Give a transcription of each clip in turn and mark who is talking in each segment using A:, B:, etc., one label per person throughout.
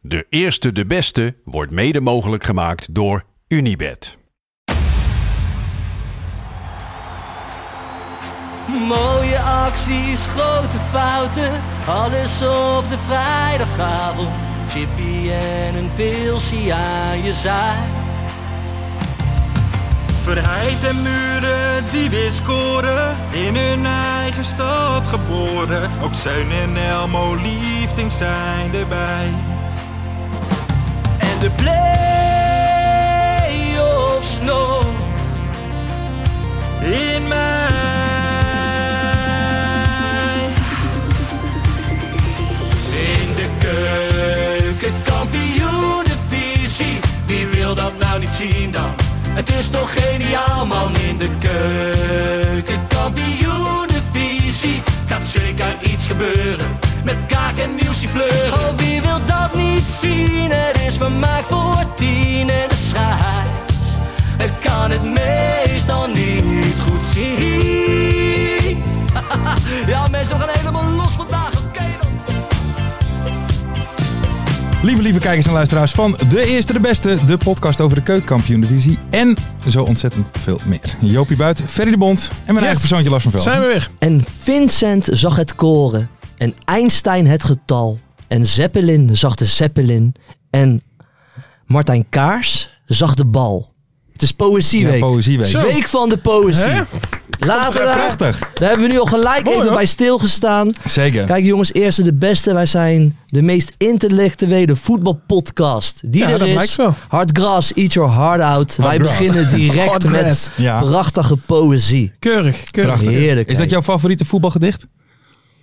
A: De eerste, de beste wordt mede mogelijk gemaakt door Unibed.
B: Mooie acties, grote fouten, alles op de vrijdagavond. Chippy en een pilsie aan je zaai.
C: Verheid en muren die weer scoren, in hun eigen stad geboren. Ook Zijn en Elmo liefding zijn erbij.
B: En de play-offs nog.
C: In mij.
B: In de keuken, kampioenenvisie. Wie wil dat nou niet zien dan? Het is toch geniaal man in de keuken, kampioenenvisie. Gaat zeker iets gebeuren met kaak en nieuwsie fleuren. Oh, wie wil dat niet zien? Het is vermaakt voor tien en de scheids. Ik kan het meestal niet goed zien. ja mensen, we gaan helemaal los vandaag, oké dan.
D: Lieve, lieve kijkers en luisteraars van De Eerste de Beste, de podcast over de keukenkampioen divisie en zo ontzettend veel meer. Joopie Buit, Ferry de Bond en mijn eigen persoontje Lars van Velden.
E: Zijn we weg.
F: En Vincent zag het koren. En Einstein het getal. En Zeppelin zag de Zeppelin. En Martijn Kaars zag de bal. Het is
D: Ja,
F: Poëzieweek.
D: poëzieweek.
E: Zo.
F: Week van de poëzie.
E: Hè?
F: Later,
D: Ja,
F: daar,
D: Prachtig.
F: daar hebben we nu al gelijk
E: Mooi,
F: even
E: hoor.
F: bij stilgestaan.
D: Zeker.
F: Kijk jongens, eerste de beste. Wij zijn de meest intellectuele voetbalpodcast die
E: Ja,
F: er
E: dat
F: is.
E: blijkt wel.
F: Hard grass, eat your heart out. Wij
D: grass.
F: beginnen
E: Hard
F: direct
E: grass.
F: met
D: Ja.
F: prachtige poëzie.
E: Keurig, keurig.
D: Prachtig.
F: Heerlijk,
D: Is dat
F: kijk.
D: jouw favoriete voetbalgedicht?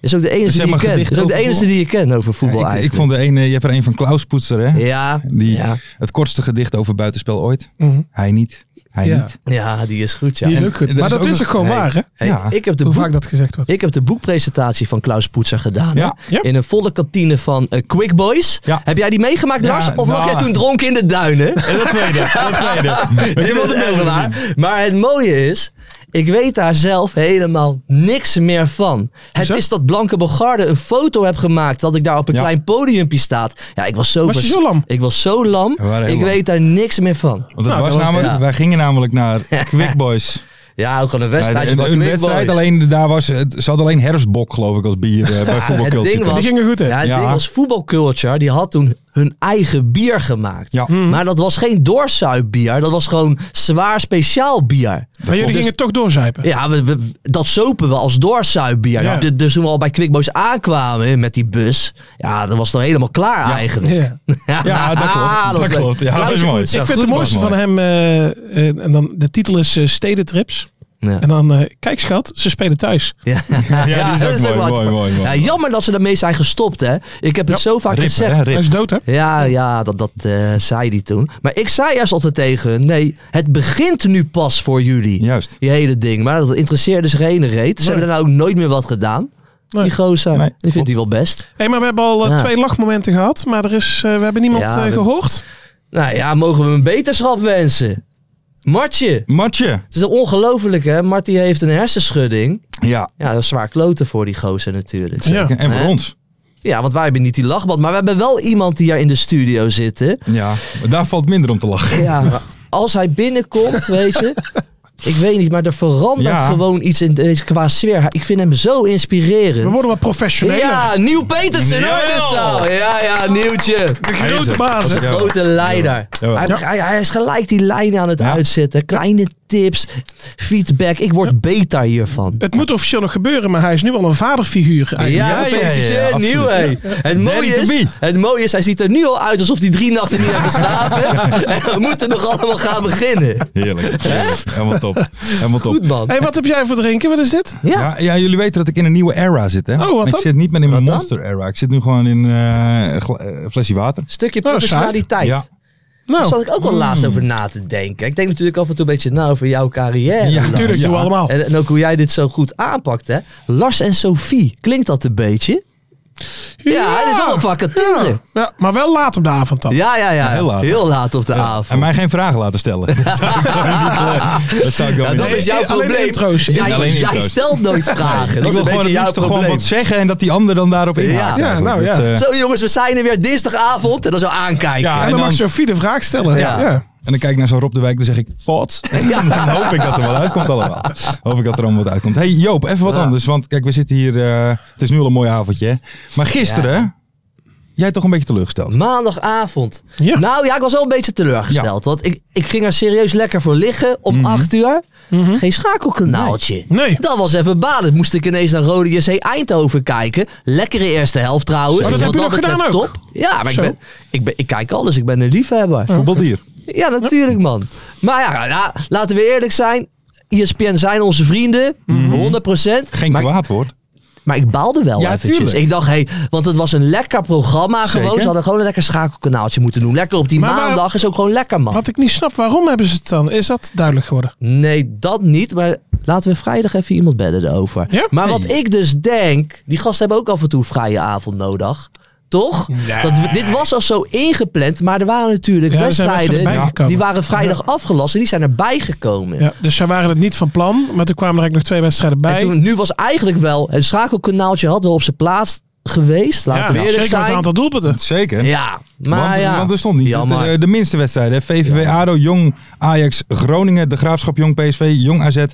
F: Is ook de enige
D: Zeg
F: die je
D: maar
F: kent.
D: gedichten
F: Is ook de
D: over
F: enige
D: voetbal.
F: die je kent over voetbal
D: ik, ik
F: eigenlijk.
D: vond de ene, je hebt er een van Klaus Poetser, hè?
F: Ja,
D: Die,
F: ja.
D: Het kortste gedicht over buitenspel ooit.
E: Mhm.
D: Hij niet. Hij
E: Ja.
D: niet.
F: ja, die is goed ja.
E: Die
F: En-
E: is ook goed.
D: er is
E: Maar dat
D: ook
E: is
D: nog-
E: ook gewoon
F: Nee.
E: waar, hè?
F: hey,
D: Ja.
F: ik, heb de
E: Hoe
F: boek,
E: vaak dat gezegd wordt.
F: ik heb de boekpresentatie van Klaus Poetser gedaan.
D: Ja.
F: hè?
E: Ja.
F: In een volle kantine van eh, Quick Boys.
D: Ja.
F: Heb jij die meegemaakt,
D: Ja,
F: Lars? Of lag
D: nou.
F: jij toen dronken in de duinen?
D: Dat tweede. Dat tweede.
F: Je wilt het wel waar. Maar het mooie is, ik weet daar zelf helemaal niks meer van. Het
E: Hoezo?
F: is dat Blanke Bogarde een foto heb gemaakt dat ik daar op een
D: Ja.
F: klein podiumpje staat. Ja, ik was zo,
E: Was je
F: vers-
E: zo lam?
F: Ik was zo lam.
D: We waren heel
F: Ik
D: lam.
F: weet daar niks meer van.
D: Want het
E: Nou,
D: was
E: dat was-
D: namelijk,
F: ja.
D: wij gingen namelijk naar Quick Boys.
F: Ja, ook al een
D: Bij
F: wedstrijd.
D: de- een wedstrijd, alleen daar was, het, ze hadden alleen herfstbok geloof ik als bier eh, bij
F: het
D: voetbalculture.
F: ding
E: Die
F: was-
E: gingen goed, hè?
F: Ja, het
D: Ja.
F: ding was voetbalculture. Die had toen hun eigen bier gemaakt.
D: Ja.
E: Mhm.
F: Maar dat was geen doorzuipbier. Dat was gewoon zwaar speciaal bier.
E: maar jullie
F: Dus-
E: gingen toch doorzuipen.
F: Ja, we, we- dat sopen we als doorzuipbier.
E: Ja.
F: D- Dus toen we al bij Quickboys aankwamen hè, met die bus. Ja, dat was nog helemaal klaar eigenlijk. Ah,
E: Ja.
D: Ja, dat klopt. Dat
F: was leuk.
D: klopt. Ja, dat
F: Klaus
D: is mooi.
F: Poets,
D: Ja,
E: ik
F: goed,
E: vind het
F: man.
E: mooiste
D: mooi.
E: van hem, eh, eh, en dan, de titel is eh, Stedentrips.
F: Ja.
E: En dan, eh, kijk schat, ze spelen thuis.
F: Ja,
D: die is
F: dat wel
D: ook mooi, mooi,
F: apart.
D: mooi, mooi.
F: Ja, jammer dat ze daarmee zijn gestopt, hè. Ik heb het zo vaak
D: Rip,
F: gezegd.
D: hè,
E: Hij
D: Rip.
E: is dood, hè?
F: Ja, ja, dat, dat eh, zei hij toen. Maar ik zei juist altijd tegen hun, nee, het begint nu pas voor jullie.
D: Juist.
F: Die hele ding. Maar dat interesseerde zich geen reet. Ze
E: Nee.
F: hebben daar ook nooit meer wat gedaan.
E: Nee.
F: Die gozer.
D: Nee,
F: die
D: klopt.
F: vindt hij wel best.
E: Hey, maar we hebben al eh,
F: Ja.
E: twee lachmomenten gehad, maar er is, eh, we hebben niemand
F: Ja,
E: eh,
F: dat-
E: gehoord.
F: Nou ja, mogen we hem een beterschap wensen. Martje.
D: Matje.
F: Het is ongelooflijk hè. Martie heeft een hersenschudding.
D: Ja.
F: Ja, dat is zwaar kloten voor die gozer natuurlijk.
E: Ja.
D: En voor
F: Hè?
D: ons.
F: Ja, want wij hebben niet die lachband. Maar we hebben wel iemand die hier in de studio zit.
D: Ja. Daar valt minder om te lachen.
F: Ja, maar als hij binnenkomt, weet je. Ik weet niet, maar er verandert
D: Ja.
F: gewoon iets in deze, qua sfeer. Ik vind hem zo
E: We
F: inspirerend.
E: worden wat professioneler.
F: Ja, Nieuw Petersen hoor. in de zaal. Ja, ja, Nieuwtje.
E: De
D: Hij is
E: grote
D: er.
E: baas. hè?
D: Ja.
F: Grote leider.
D: Ja.
F: Hij, hij, hij is gelijk die lijnen aan het
D: Ja.
F: uitzetten. Kleine tips, feedback. Ik word beter hiervan.
E: Het moet officieel nog gebeuren, maar hij is nu al een vaderfiguur. eigenlijk.
F: Ja,
D: ja, ja,
F: gefeliciteerd,
D: absoluut.
F: nieuw hé. Het,
D: Daddy
F: mooie
D: to
F: is,
D: be.
F: het mooie is, hij ziet er nu al uit alsof hij drie nachten niet heeft geslapen. En we moeten nog allemaal gaan beginnen.
D: Heerlijk. Helemaal top. Helemaal top.
F: Goed man.
E: Hé, wat heb jij voor drinken? Wat is dit?
F: Ja.
D: Ja, ja, jullie weten dat ik in een nieuwe era zit, hè?
E: Oh, wat
D: ik
E: dan?
D: zit niet meer in mijn
F: Wat dan?
D: monster era. Ik zit nu gewoon in eh, een gla- eh, flesje water.
F: Stukje
E: Nou, saai.
F: professionaliteit.
D: Ja. Mm.
F: Daar
E: Nou,
F: zat ik ook wel laatst over na te denken. Ik denk natuurlijk af en toe een beetje nou over jouw carrière.
D: Ja,
F: Lars.
E: natuurlijk,
D: Ja.
E: doen we allemaal.
F: En, en ook hoe jij dit zo goed aanpakt, hè? Lars en Sophie, klinkt dat een beetje? Ja, het is allemaal vacature.
E: Ja. Ja, maar wel laat op de avond dan.
F: Ja, ja, ja.
D: Heel laat.
F: op de avond.
D: En mij geen vragen laten stellen. dat zou ik dan niet, eh, dat zou ik dan
F: Ja, Nou,
D: niet
F: dat
D: doen.
F: is jouw
E: Alleen
F: probleem.
E: intro's.
F: Jij,
D: Alleen
F: jij
D: intro's.
F: stelt nooit vragen.
D: Ik
F: dat is
D: wil
F: een
D: gewoon
F: beetje
D: het
F: jouw
D: liefst gewoon
F: probleem.
D: wat zeggen en dat die ander dan daarop inhaakt.
F: Ja.
D: eigenlijk.
E: Ja, nou
D: Dat,
E: ja.
D: eh,
F: Zo jongens, we zijn er weer dinsdagavond. En dan zo aankijken.
D: Ja,
E: En
D: en
E: dan
D: dan-
E: mag Sophie de vraag stellen.
F: Ja.
E: Ja.
D: En dan kijk ik naar zo'n Rob de Wijk, dan zeg ik, fot. En dan hoop ik dat er wel uitkomt allemaal. Hoop ik dat er allemaal wat uitkomt. hey Joop, even wat
F: Ja.
D: anders. Want kijk, we zitten hier, eh, het is nu al een mooi avondje. hè? Maar gisteren, jij toch een beetje teleurgesteld.
F: Maandagavond.
E: Ja.
F: Nou ja, ik was wel een beetje teleurgesteld. Want ik, ik ging er serieus lekker voor liggen om 8 uur. Geen schakelkanaaltje.
E: Mhm. Nee.
F: Dat was even baden. Moest ik ineens naar Rode JC Eindhoven kijken. Lekkere eerste helft trouwens.
E: Zo, Oh, dat
F: Dus
E: heb
F: wat
E: je nog
F: betreft
E: gedaan ook?
F: Top. Ja, maar ik,
E: Zo.
F: ben, ik, ben, ik kijk alles. Ik ben een liefhebber.
D: Voetbaldier.
F: Ja, natuurlijk man. Maar ja, ja, laten we eerlijk zijn. E ESPN zijn onze vrienden.
E: Mhm.
F: 100%.
D: Geen
F: maar,
D: kwaad woord.
F: maar ik baalde wel
D: Ja,
F: eventjes.
D: tuurlijk.
F: Ik dacht, hé, want het was een lekker programma gewoon.
D: Zeker.
F: Ze hadden gewoon een lekker schakelkanaaltje moeten doen. Lekker op die
E: Maar waar-
F: maandag is ook gewoon lekker man.
E: Wat ik niet snap, waarom hebben ze het dan? Is dat duidelijk geworden?
F: Nee, dat niet. Maar laten we vrijdag even iemand bellen erover.
E: Ja?
F: Maar
E: Nee.
F: wat ik dus denk, die gasten hebben ook af en toe vrije avond nodig. Toch? Dat, dit was al zo ingepland, maar er waren natuurlijk
E: Ja, er zijn
F: wedstrijden.
E: wedstrijden bijgekomen.
F: die waren vrijdag afgelast en die zijn erbij gekomen.
E: Ja, dus zij waren het niet van plan, maar toen kwamen er eigenlijk nog twee wedstrijden bij.
F: En toen, nu was eigenlijk wel, het schakelkanaaltje had wel op zijn plaats geweest.
E: ja,
F: Laten we
E: nou,
F: eerlijk
E: zeker met het
F: zijn.
E: aantal doelpunten.
D: Zeker.
F: Ja, maar
D: want,
F: ja.
D: want er stond niet eh,
F: Jammer.
D: de, de minste wedstrijden. hè. VVV, ADO, Jong, Ajax, Groningen, De Graafschap, Jong, PSV, Jong, AZ,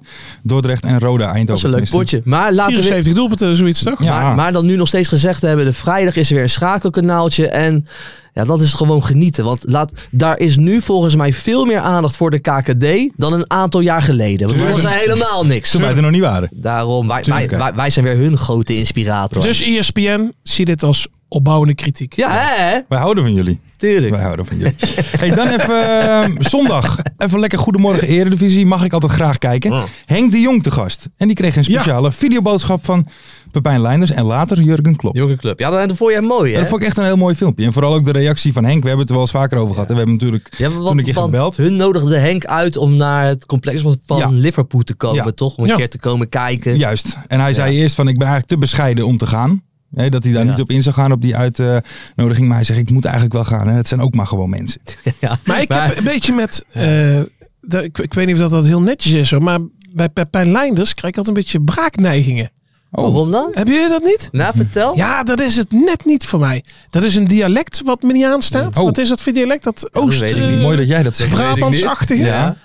D: Dordrecht en Roda, Eindhoven.
F: dat is een leuk
D: tenminste.
F: potje. Maar laten we,
E: 74 doelpunten, zoiets toch?
D: Ja.
F: Maar, maar dan nu nog steeds gezegd hebben, de vrijdag is er weer een schakelkanaaltje. En ja, dat is gewoon genieten. Want laat, daar is nu volgens mij veel meer aandacht voor de KKD dan een aantal jaar geleden. Want toen was er helemaal niks.
D: Toen wij er nog niet waren.
F: Daarom, wij, wij,
D: Tuurlijk, hè.
F: wij, wij zijn weer hun grote inspirator.
E: Dus ESPN ziet dit als opbouwende kritiek.
F: ja, hè?
D: Wij houden van jullie.
F: Tuurlijk.
D: Wij houden van jullie. Hey, dan even eh, zondag. Even lekker Goedemorgen Eredivisie. Mag ik altijd graag kijken. Henk de Jong te gast. En die kreeg een speciale videoboodschap van Pepijn Leinders en later Jurgen Klopp.
F: Jonge club. Ja, dat dat vond jij mooi, hè?
D: Dat vond ik echt een heel mooi filmpje. En vooral ook de reactie van Henk. We hebben het er wel eens vaker over gehad. En we hebben natuurlijk
F: Ja, want,
D: toen een keer
F: want
D: gebeld.
F: hun nodigde Henk uit om naar het complex van van
D: Ja.
F: Liverpool te komen,
D: Ja.
F: toch? Om een
E: Ja.
F: keer te komen kijken.
D: Juist. En hij zei eerst van ik ben eigenlijk te bescheiden om te gaan. Hè, dat hij daar
F: Ja.
D: niet op in zou gaan op die uitnodiging. Maar hij zegt ik moet eigenlijk wel gaan. Hè. Het zijn ook maar gewoon mensen.
F: Ja.
E: Maar ik
F: Maar-
E: heb een beetje met. eh, de- ik, ik weet niet of dat, dat heel netjes is, hoor, maar bij Pepijn Leinders krijg ik altijd een beetje braakneigingen.
D: Oh.
F: Waarom dan?
E: Hebben jullie dat niet?
F: Nou, vertel.
E: Ja, dat is het net niet voor mij. Dat is een dialect wat me niet aanstaat.
D: Oh.
E: Wat is dat voor dialect? Dat
F: dat
E: Oost.
F: weet ik
E: eh,
F: niet.
D: Mooi dat jij dat zegt.
E: Brabantsachtige.
D: Ja.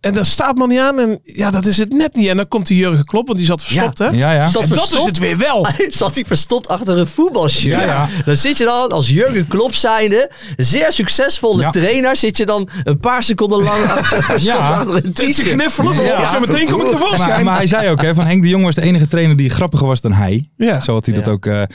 E: En dat staat me niet aan. En ja, dat is het net niet. En dan komt die Jurgen Klopp, want die zat verstopt, hè?
D: Ja, ja.
F: Zat
E: En dat
F: verstopt?
E: is het weer wel.
F: Zat hij verstopt achter een voetbalshirt.
D: Ja, ja.
F: Dan zit je dan als Jurgen Klopp zijnde, zeer succesvolle
D: Ja.
F: trainer, zit je dan een paar seconden lang achter, verstopt
D: Ja.
F: achter een
E: Te te
F: t-shirt.
E: knuffelen. van,
D: Ja.
E: Zo meteen kom ik
D: Maar,
E: tevoorschijn.
D: maar hij zei ook, hè, van Henk de Jong was de enige trainer die grappiger was dan hij.
E: Ja.
D: Zo had hij dat ook eh, eh,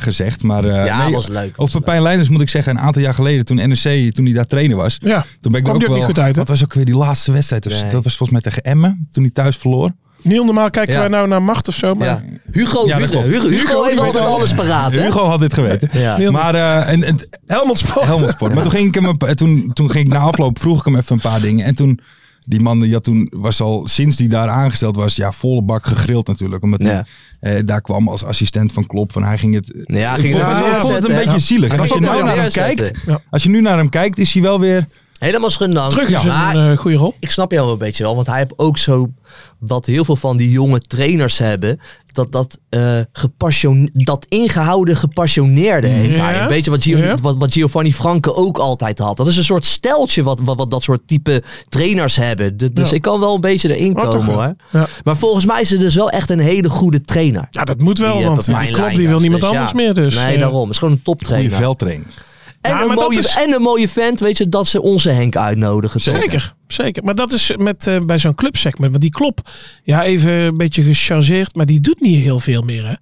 D: gezegd. Maar, eh,
F: Ja, was leuk, was
D: Of Pepijn Leijners moet ik zeggen, een aantal jaar geleden toen NEC, toen hij daar trainer was.
E: Ja.
D: Toen ben ik
E: Kwam
D: er
E: die ook
D: wel,
E: niet goed uit, hè?
D: Dat was ook weer die laatste wedstrijd. Dus
F: Nee.
D: Dat was volgens mij tegen Emmen, toen hij thuis verloor.
E: Niet normaal kijken
F: Ja.
E: wij nou naar macht of zo. Maar
F: Ja. Hugo,
D: Ja, dat
F: Hugo,
D: klopt.
F: Hugo, Hugo heeft
D: weet
F: altijd
D: alles.
F: alles paraat. Hè?
D: Hugo had dit geweten.
F: Ja.
D: Maar eh, en, en,
E: Helmond Sport.
D: Helmond Sport. Maar toen ging ik hem, een- toen, toen ging ik na afloop, vroeg ik hem even een paar dingen. En toen, die man die had toen, was al sinds die daar aangesteld was, ja, volle bak gegrild natuurlijk. Omdat hij
F: Ja.
D: eh, daar kwam als assistent van Klop. Van hij ging het.
F: Ja,
D: ik
F: ging
D: vond,
F: het
D: het-
F: weer
D: ik vond het een
F: neerzetten,
D: beetje
F: hè?
D: zielig.
F: Hij
D: als je
F: ging het
D: nou
F: weer
D: naar hem
F: neerzetten.
D: kijkt, als je nu naar hem kijkt, is hij wel weer.
F: Helemaal schendank.
E: Terug is
F: Ja. Maar
E: een eh, goede rol.
F: ik snap jou wel een beetje wel, want hij heeft ook zo wat heel veel van die jonge trainers hebben. Dat dat, eh, gepassion, dat ingehouden gepassioneerde heeft hij.
E: Ja.
F: Een beetje wat, Gio-
E: Ja.
F: wat, wat Giovanni Franke ook altijd had. Dat is een soort steltje wat, wat, wat dat soort type trainers hebben. De- dus
E: Ja.
F: ik kan wel een beetje erin
E: Maar toch
F: komen
E: wel.
F: hoor.
E: Ja.
F: Maar volgens mij is het dus wel echt een hele goede trainer.
E: Ja, dat moet wel,
F: Die, eh,
E: want
F: Pepijn
E: die klopt, die
F: Leijnders.
E: wil niemand
F: Dus ja.
E: anders meer. Dus,
F: nee,
E: eh,
F: daarom. Het is gewoon een
D: Goede
F: toptrainer.
D: veldtraining.
F: En,
E: Ja,
F: een
E: maar dat
F: mooie,
E: is-
F: en een mooie vent, weet je, dat ze onze Henk uitnodigen. toch?
E: Zeker, zeker. Maar dat is met, eh, bij zo'n clubsegment. Want die klop, ja, even een beetje gechargeerd, maar die doet niet heel veel meer, hè?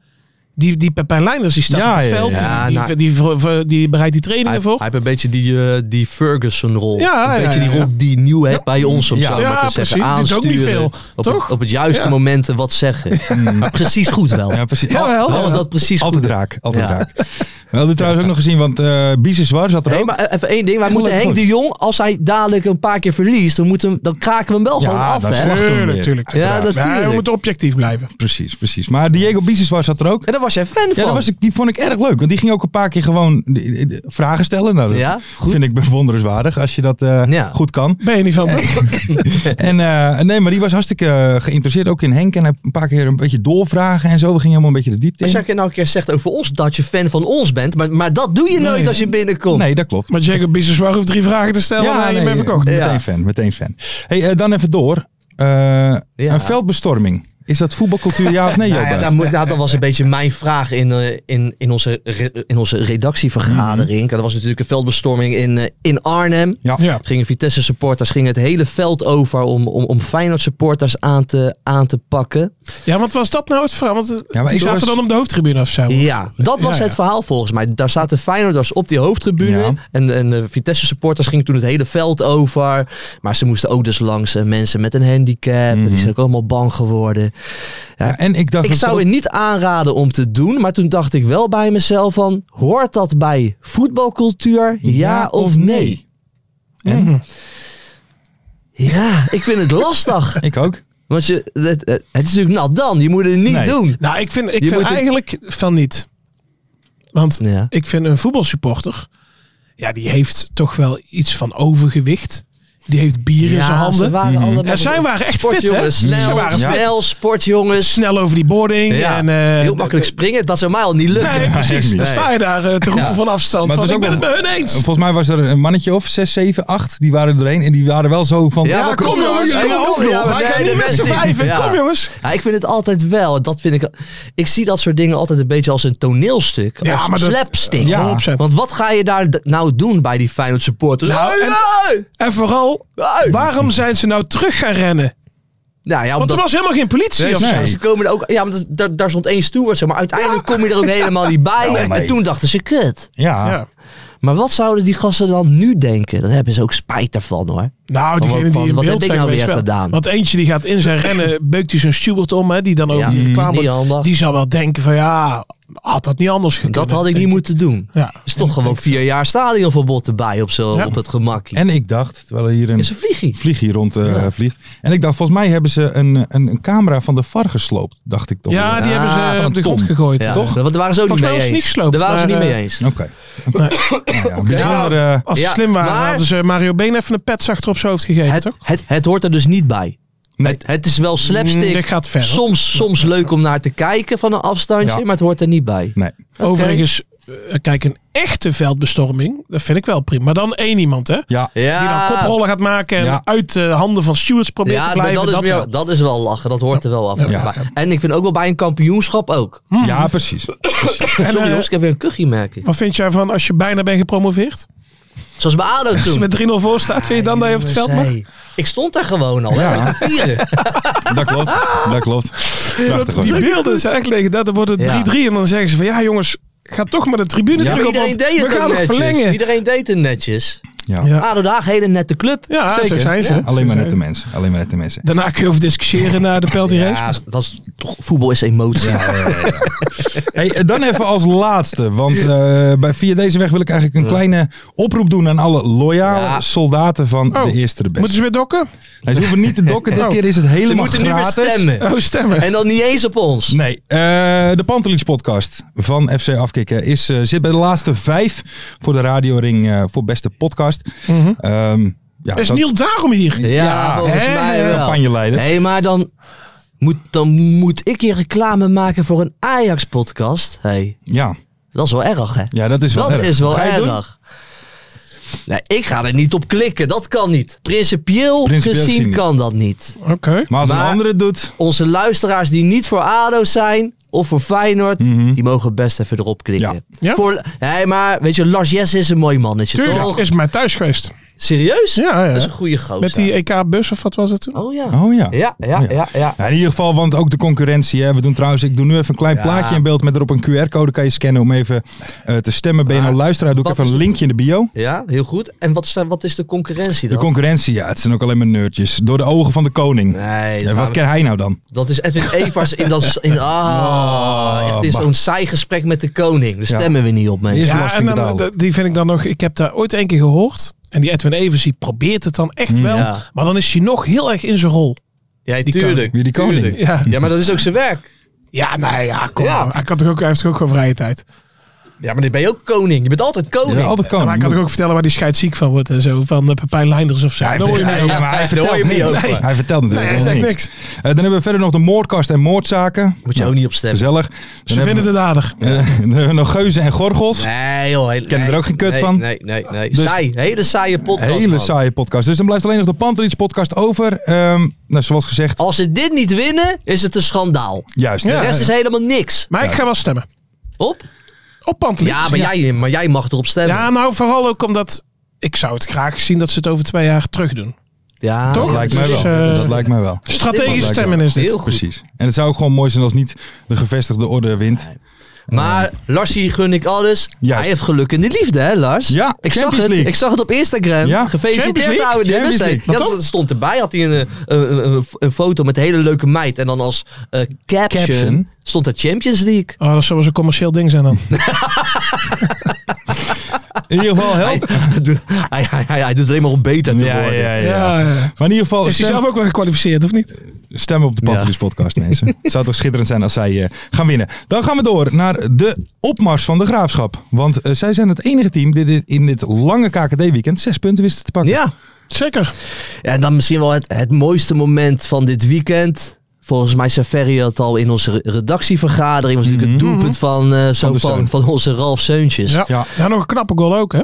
E: Die, die Pepijn Leinders, die staat
D: Ja,
E: op het
D: ja,
E: veld.
F: ja.
E: die,
F: Ja, nou-
E: die, die, die, bereidt die
F: Hij,
E: trainingen
F: hij
E: voor.
F: heeft een beetje die, eh, die Ferguson-rol.
E: Ja,
F: een
E: ja,
F: beetje
E: ja,
F: die
E: ja.
F: rol die nieuw hebt bij ons. Om
D: Ja.
F: zo
E: Ja,
F: maar te zeggen.
E: precies. Doet ook niet
F: Aansturen.
E: veel,
F: op,
E: toch?
F: op het juiste
E: Ja.
F: momenten wat zeggen. Maar precies goed wel.
D: Ja, precies.
E: Jawel.
D: Al-
F: Wel,
D: al-
F: dat precies
D: altijd
F: goed.
D: raak, altijd
F: Ja.
D: raak. We hadden trouwens ook nog gezien, want eh Biseswar zat er
F: Hey,
D: ook.
F: maar eh, even één ding. Wij
D: Echt
F: moeten
D: leuk,
F: Henk
D: goed.
F: de Jong, als hij dadelijk een paar keer verliest, dan, moeten, we hem- dan kraken we hem wel gewoon af.
D: dat
F: Hè?
D: verwachten we weer.
E: natuurlijk.
F: Ja, dat
E: Ja, we
F: tuurlijk.
E: moeten objectief blijven.
D: Precies, precies. Maar Diego Biseswar zat er ook.
F: En daar was jij fan
D: Ja,
F: van.
D: dat was, ik- die vond ik erg leuk. Want die ging ook een paar keer gewoon eh, eh, vragen stellen. Nou, dat
F: Ja, goed.
D: vind ik bewonderenswaardig als je dat eh,
F: Ja.
D: goed kan.
E: Ben je niet van toch?
D: En eh, nee, maar die was hartstikke eh, geïnteresseerd ook in Henk. En hij een paar keer een beetje doorvragen en zo. We gingen helemaal een beetje de diepte
F: Als
D: in.
F: jij nou een keer zegt over ons dat je fan van ons bent, maar, maar dat doe je nooit
D: Nee.
F: als je binnenkomt.
D: Nee, dat klopt.
E: Maar Jacob Biseswar hoeft drie vragen te stellen
F: eh,
E: en je bent verkocht.
D: Meteen
F: Ja.
D: fan, meteen fan. Hey, eh, dan even door. Eh, Een veldbestorming. Is dat voetbalcultuur ja of nee?
F: Nou ja,
D: Jobbert?
F: daar moet- nou, dat was een beetje mijn vraag in, eh, in, in, onze, re- in onze redactievergadering. Dat was natuurlijk een veldbestorming in, eh, in Arnhem.
D: Ja.
E: Ja.
F: Gingen Vitesse supporters gingen het hele veld over om, om, om Feyenoord supporters aan te, aan te pakken.
E: ja, want was dat nou het verhaal? Want eh,
D: Ja, maar
E: die
D: ik
E: zaten
D: was-
E: dan op de hoofdtribune of zo.
F: Ja, dat was
E: Ja,
F: het
E: ja.
F: verhaal volgens mij. Daar zaten Feyenoorders op die hoofdtribune.
D: Ja.
F: En, en de Vitesse supporters gingen toen het hele veld over. Maar ze moesten ook dus langs eh, mensen met een handicap. Die zijn ook allemaal bang geworden.
D: Ja, en ik dacht...
F: Ik
D: dat ze
F: zou
D: ook-
F: het niet aanraden om te doen, maar toen dacht ik wel bij mezelf van, hoort dat bij voetbalcultuur, ja, of nee?
D: En?
E: Mhm.
F: Ja, ik vind het lastig.
D: Ik ook.
F: Want je, het, het is natuurlijk nat dan, je moet het niet
D: Nee.
F: doen.
E: Nou, ik vind, ik
F: Je
E: vind
F: moet het-
E: eigenlijk van niet. Want
F: Ja.
E: ik vind een voetbalsupporter, ja, die heeft toch wel iets van overgewicht. Die heeft bier in zijn
F: Ze
E: handen.
F: waren allemaal
E: Ja, zij waren echt fit, hè?
F: sportjongens, snel,
E: Ze waren fit.
F: snel sportjongens.
E: Snel over die boarding.
F: Ja,
E: En, eh,
F: heel makkelijk springen, dat zou mij al niet lukken.
E: Nee, precies.
D: Nee.
E: Dan sta je daar eh, te roepen
F: Ja.
E: van afstand.
D: Maar
E: van,
D: het is
E: ik ben
D: ook
E: het met hun eens.
D: Volgens mij was er een mannetje of 6, 7, 8. Die waren er een. En die waren wel zo van...
F: maar
E: kom, jongens,
F: Ja,
E: kom
F: maar
E: op, joh.
F: ja, maar
E: Wij
F: nee,
E: gaan niet
F: dat
E: met z'n
F: werkt
E: vijven.
F: niet.
E: Kom,
F: Ja.
E: jongens.
F: Ja, Nou, ik vind het altijd wel. Dat vind ik, ik zie dat soort dingen altijd een beetje als een toneelstuk.
E: Ja,
F: als
E: maar dat-
F: slapstick.
D: Ja.
E: 100%.
F: Want wat ga je daar d- nou doen bij die Feyenoord supporters?
E: Nou,
F: Hey,
E: en-
F: hey!
E: En vooral, waarom zijn ze nou terug gaan rennen?
F: nou ja,
E: Want
F: omdat,
E: er was helemaal geen politie.
D: Nee,
E: of
D: nee.
E: zo.
F: ja, ze komen er ook, ja maar dat- daar, daar stond één steward, zo, maar uiteindelijk kom je er ook helemaal niet bij.
E: Nou,
F: en, en toen dachten ze, kut.
D: Ja.
E: Ja.
F: Maar wat zouden die gasten dan nu denken? Dan hebben ze ook spijt daarvan hoor.
E: Nou, diegene
F: van,
E: die in
F: wat
E: beeld
F: heb ik
E: zijn
F: nou
E: geweest
F: weer
E: wel.
F: gedaan?
E: Want eentje die gaat in zijn rennen, beukt hij zijn steward om, hè, die dan over
F: Ja,
E: die reclame...
F: niet handig.
E: Die zou wel denken van, ja, had dat niet anders gekund.
F: Dat had ik niet moeten doen. Er
E: Ja.
F: is toch gewoon vier jaar stadionverbod erbij op, zo,
E: Ja.
F: op het gemakkie.
D: En ik dacht, terwijl er hier een
F: is een vliegie.
D: vlieg hier rond eh, vliegt. En ik dacht, volgens mij hebben ze een, een, een camera van de VAR gesloopt. Dacht ik toch.
E: Ja, die
F: Ja,
E: hebben ze
D: van
E: op de grond
D: Tom.
E: gegooid,
F: Ja,
E: toch?
F: Want daar waren ze ook niet
E: Volgens mij
F: mee
E: was
F: eens.
E: het niet gesloopt,
F: daar waren ze
E: maar,
F: niet mee
E: eh,
F: eens.
D: Oké. Nou ja, bijzonder, eh,
E: Als ze
F: Ja,
E: slim waren,
F: maar-
E: hadden ze Mario Been even een pet zachter op zijn hoofd gegeven,
F: Het,
E: toch?
F: het, het hoort er dus niet bij.
D: Nee.
F: Het, het is wel slapstick.
E: Mm, dit gaat verder.
F: Soms, soms leuk om naar te kijken van een afstandje,
D: Ja.
F: maar het hoort er niet bij.
D: nee.
E: Overigens, eh, kijk, een echte veldbestorming, dat vind ik wel prima. Maar dan één iemand, hè?
D: Ja.
F: Ja,
E: Die dan koprollen gaat maken en
D: Ja.
E: uit de handen van stewards probeert
F: ja,
E: te
F: maar
E: blijven.
F: dat, is
E: dat
F: meer-
E: wel.
F: dat is wel lachen. Dat hoort er wel af. en toe
D: Ja.
F: bij. En ik vind ook wel bij een kampioenschap ook.
D: ja, precies.
F: Sorry
E: eh,
F: jongens, ik heb weer een kuchie merken.
E: Wat vind jij van als je bijna bent gepromoveerd?
F: Zoals bij ADO
E: Als
F: toen.
E: je met 3-0 voor staat, vind je dan dat je op het veld
F: Jongens,
E: mag?
F: hey, Ik stond daar gewoon al.
D: Ja.
F: hè, met de vieren.
D: Dat klopt. Dat klopt. Prachtig
E: Die
D: hoor.
E: beelden zijn echt legendair. Dan wordt het 3-3
F: Ja.
E: en dan zeggen ze van ja jongens, ga toch maar de tribune
D: Ja.
E: terug op,
F: Iedereen
E: want
F: deed
E: we
F: het ook
E: gaan nog
F: netjes.
E: verlengen.
F: Iedereen deed het netjes.
D: Ja.
E: Ja.
F: ADO Haag, hele nette club.
E: Ja,
D: Zeker.
E: zo zijn ze.
D: Ja, alleen maar
E: Zo
D: nette
E: zijn
D: mensen. Alleen maar nette mensen.
E: ze. Daarna kun je over discussiëren na de penalty race.
F: Ja, dat is, toch, voetbal is emotie.
D: Hey, eh, dan even als laatste, want eh, bij, via deze weg wil ik eigenlijk een kleine oproep doen aan alle loyale
F: Ja.
D: soldaten van
E: Oh,
D: de eerste de beste.
E: Moeten ze Oh. weer dokken?
D: Nee, ze hoeven niet te dokken, dit keer is het helemaal
F: Ze moeten nu weer
D: gratis.
F: stemmen.
E: Oh, stemmen.
F: En dan niet eens op ons.
D: Nee, eh, de Pantelits podcast van FC Afkikken is, eh, zit bij de laatste vijf voor de radioring eh, voor beste podcast. Ehm, ja,
E: Mhm. is
D: dat-
E: Niel daarom hier?
F: Ja,
D: Ja,
F: volgens
E: hè,
F: mij wel.
D: campagneleider.
F: Nee, maar dan moet, dan moet ik hier reclame maken voor een Ajax-podcast. Hey,
D: Ja,
F: dat is wel erg, hè?
D: ja, dat is wel
F: dat
D: erg.
F: is wel
D: Ga je het doen?
F: erg. Nee, ik ga er niet op klikken. Dat kan niet. Principieel,
D: Principieel
F: gezien
D: gezien niet.
F: kan dat niet.
E: Oké.
D: Maar als een
F: Maar-
D: andere het doet,
F: Onze luisteraars die niet voor ADO zijn of voor Feyenoord,
D: Mhm.
F: die mogen best even erop klikken.
E: Ja. Ja?
F: Voor, nee, maar weet je, Lars Jesse is een mooi mannetje,
E: Tuurlijk,
F: toch?
E: is maar thuis geweest.
F: Serieus?
E: Ja,
F: Dat is
E: ja.
F: een goede gozer.
E: Met die EK-bus of wat was het toen?
F: Oh ja.
D: oh ja.
F: Ja, ja,
D: Oh ja.
F: ja, ja.
D: Ja, in ieder geval, want ook de concurrentie. Hè. We doen trouwens, ik doe nu even een klein
F: Ja.
D: plaatje in beeld met erop een QR-code. Kan je scannen om even eh, te stemmen. Ben je
F: Maar
D: nou luisteraar? Doe ik
F: wat
D: even een
F: is de-
D: linkje in de bio.
F: Ja, heel goed. En wat is, daar- wat is de concurrentie
D: De
F: dan?
D: concurrentie, ja, het zijn ook alleen maar nerdjes. Door de ogen van de koning.
F: nee, dat
D: Ja,
F: gaan
D: wat
F: we-
D: ken hij nou dan?
F: Dat is Edwin Evers in dat... In, ah,
D: Oh,
F: echt in
D: maar-
F: zo'n saai gesprek met de koning. Daar
D: Ja.
F: stemmen we niet op, mensen.
D: Eerst
E: Ja, en
D: belasting
E: dan,
D: betalen.
E: dat- die vind ik dan nog... Ik heb daar ooit één keer gehoord. En die Edwin Evers, die probeert het dan echt wel.
F: Mm, ja.
E: Maar dan is hij nog heel erg in zijn rol.
F: Ja,
E: Die
F: tuurlijk.
D: Wie die koning?
F: tuurlijk.
E: Ja,
F: Ja, maar dat is ook zijn werk.
E: ja nee, ja, kom
F: Ja. Oh,
E: nou. Hij, kan toch ook, hij heeft toch ook gewoon vrije tijd.
F: Ja, maar dan ben je ook koning. Je bent altijd koning.
D: Ja, altijd
E: maar hij
D: koning.
E: kan toch ook vertellen waar die scheidziek van wordt en zo. Van eh, Pepijn Leinders of zo.
D: Ja,
E: Dan hoor je
D: hij-
E: hem
D: ja,
E: ook.
D: maar hij
F: Daar
D: vertelt
F: hoor je hem niet
D: niks.
F: over.
D: Nee, hij vertelt
E: Nee,
D: natuurlijk
E: hij
D: helemaal
E: zegt
D: niks.
E: niks.
D: Eh, dan hebben we verder nog de moordkast en moordzaken. Nou,
F: Moet je ook niet op stemmen.
D: Gezellig. Dan
E: Ze
D: hebben
E: vinden
D: we-
E: het aardig.
D: eh, dan hebben we nog geuzen en gorgels.
F: Nee, joh. Kennen
D: Kennen we er ook geen kut
F: nee,
D: van?
F: Nee, nee, nee.
D: Dus-
F: Saai. Hele saaie podcast,
D: Hele
F: man.
D: saaie podcast. Dus dan blijft alleen nog de Panterits podcast over. Ehm, nou, zoals gezegd,
F: Als ze dit niet winnen, is het een schandaal.
D: juist.
F: De
D: hè?
F: rest is helemaal niks.
E: Maar ik ga wel stemmen.
F: Op?
E: Op Pantelis.
F: Ja, maar, Jij, maar jij mag erop stemmen.
E: Ja, nou vooral ook omdat... Ik zou het graag zien dat ze het over twee jaar terug doen.
F: Ja,
E: Toch?
D: Dat lijkt mij
E: Dus,
D: wel.
E: eh,
D: Dat lijkt mij wel.
E: Strategisch
D: Lijkt
E: stemmen
D: wel.
E: is dit.
F: Heel goed.
D: Precies. En het zou ook gewoon mooi zijn als niet de gevestigde orde wint.
F: Maar Larsie gun ik alles.
D: Juist.
F: Hij heeft geluk in de liefde, hè, Lars?
D: Ja,
F: ik zag,
D: Champions
F: het,
D: League.
F: ik zag het op Instagram.
D: Ja.
E: Champions
F: Gefeliciteerd,
E: League?
F: oude
D: Champions
F: Dennis. Hey.
D: League.
F: Ja,
D: Wat
F: dat stond erbij. Had hij een, eh, een, een, een foto met een hele leuke meid. En dan als eh, caption,
D: Caption.
F: stond er Champions League.
E: Oh, dat zou wel zo'n commercieel ding zijn dan.
D: In ieder geval
F: Hij,
D: helpt.
F: doet- hij, hij, hij, hij doet het alleen maar om beter te worden.
E: Ja, ja.
D: Maar in ieder geval,
E: Is
D: stem,
E: hij zelf ook wel gekwalificeerd, of niet?
D: stemmen op de Pantelis podcast mensen. Het zou toch schitterend zijn als zij eh, gaan winnen. Dan gaan we door naar de opmars van de Graafschap. Want eh, zij zijn het enige team die dit in dit lange KKD-weekend zes punten wisten te pakken.
F: Ja.
E: Zeker.
F: En dan misschien wel het, het mooiste moment van dit weekend. Volgens mij zei Ferry het al in onze re- redactievergadering. was natuurlijk
E: Mhm.
F: het doelpunt van, eh, zo
D: de
F: van,
D: Seun.
F: van onze Ralf Seuntjes.
E: Ja.
D: Ja.
E: ja. nog een knappe goal ook, hè?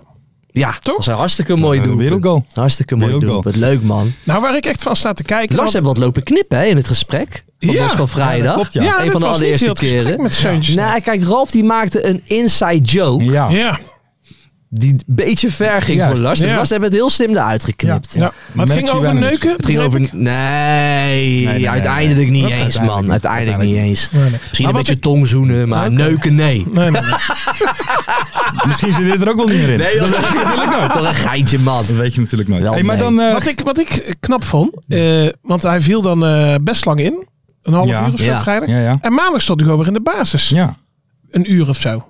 F: Ja,
E: Toch?
F: Dat is een hartstikke mooi
D: Ja, een
F: doelpunt.
D: wereldgoal.
F: Hartstikke mooi
D: Wereldgoal.
F: doelpunt. Leuk man.
E: Nou, waar ik echt van sta te kijken.
F: Lars
E: want-
F: heeft wat lopen knippen hè, in het gesprek. Van
E: Ja,
F: ons van vrijdag.
D: dat klopt, ja.
E: ja,
F: een
E: dit
F: van de
E: was niet
F: allereerste
E: heel het gesprek
F: keren.
E: Met Seuntjes.
F: Nou, kijk, Ralf die maakte een inside joke.
D: Ja.
E: Ja,
F: Die een beetje ver ging
D: Juist,
F: voor Lars. Dus
E: ja.
F: Lars heeft het heel slim eruit geknipt.
E: ja. Maar het
D: Merk
E: ging
D: je
E: over
D: wel eens.
E: neuken.
F: Het ging over... Nee,
D: nee, nee,
F: uiteindelijk
D: nee.
F: niet
D: Dat
F: eens
D: uiteindelijk
F: man.
D: niet.
F: Uiteindelijk, niet eens.
E: Nee, nee.
F: Misschien
E: Maar
F: een
E: wat
F: beetje tongzoenen, maar
E: Oké.
F: neuken nee.
E: Nee, nee, nee.
D: Misschien zit dit er ook wel niet meer in.
F: Nee, joh, dat is natuurlijk Toch een geintje man.
D: Dat weet je natuurlijk nooit.
F: Wel,
D: Hey, maar
F: nee.
D: dan, eh,
E: Wat ik, wat ik knap vond, eh, want hij viel dan eh, best lang in. Een half
D: Ja.
E: uur of zo
F: Ja.
E: vrijdag.
D: Ja, ja.
E: En maandag stond hij gewoon weer in de basis.
D: ja.
E: Een uur of zo.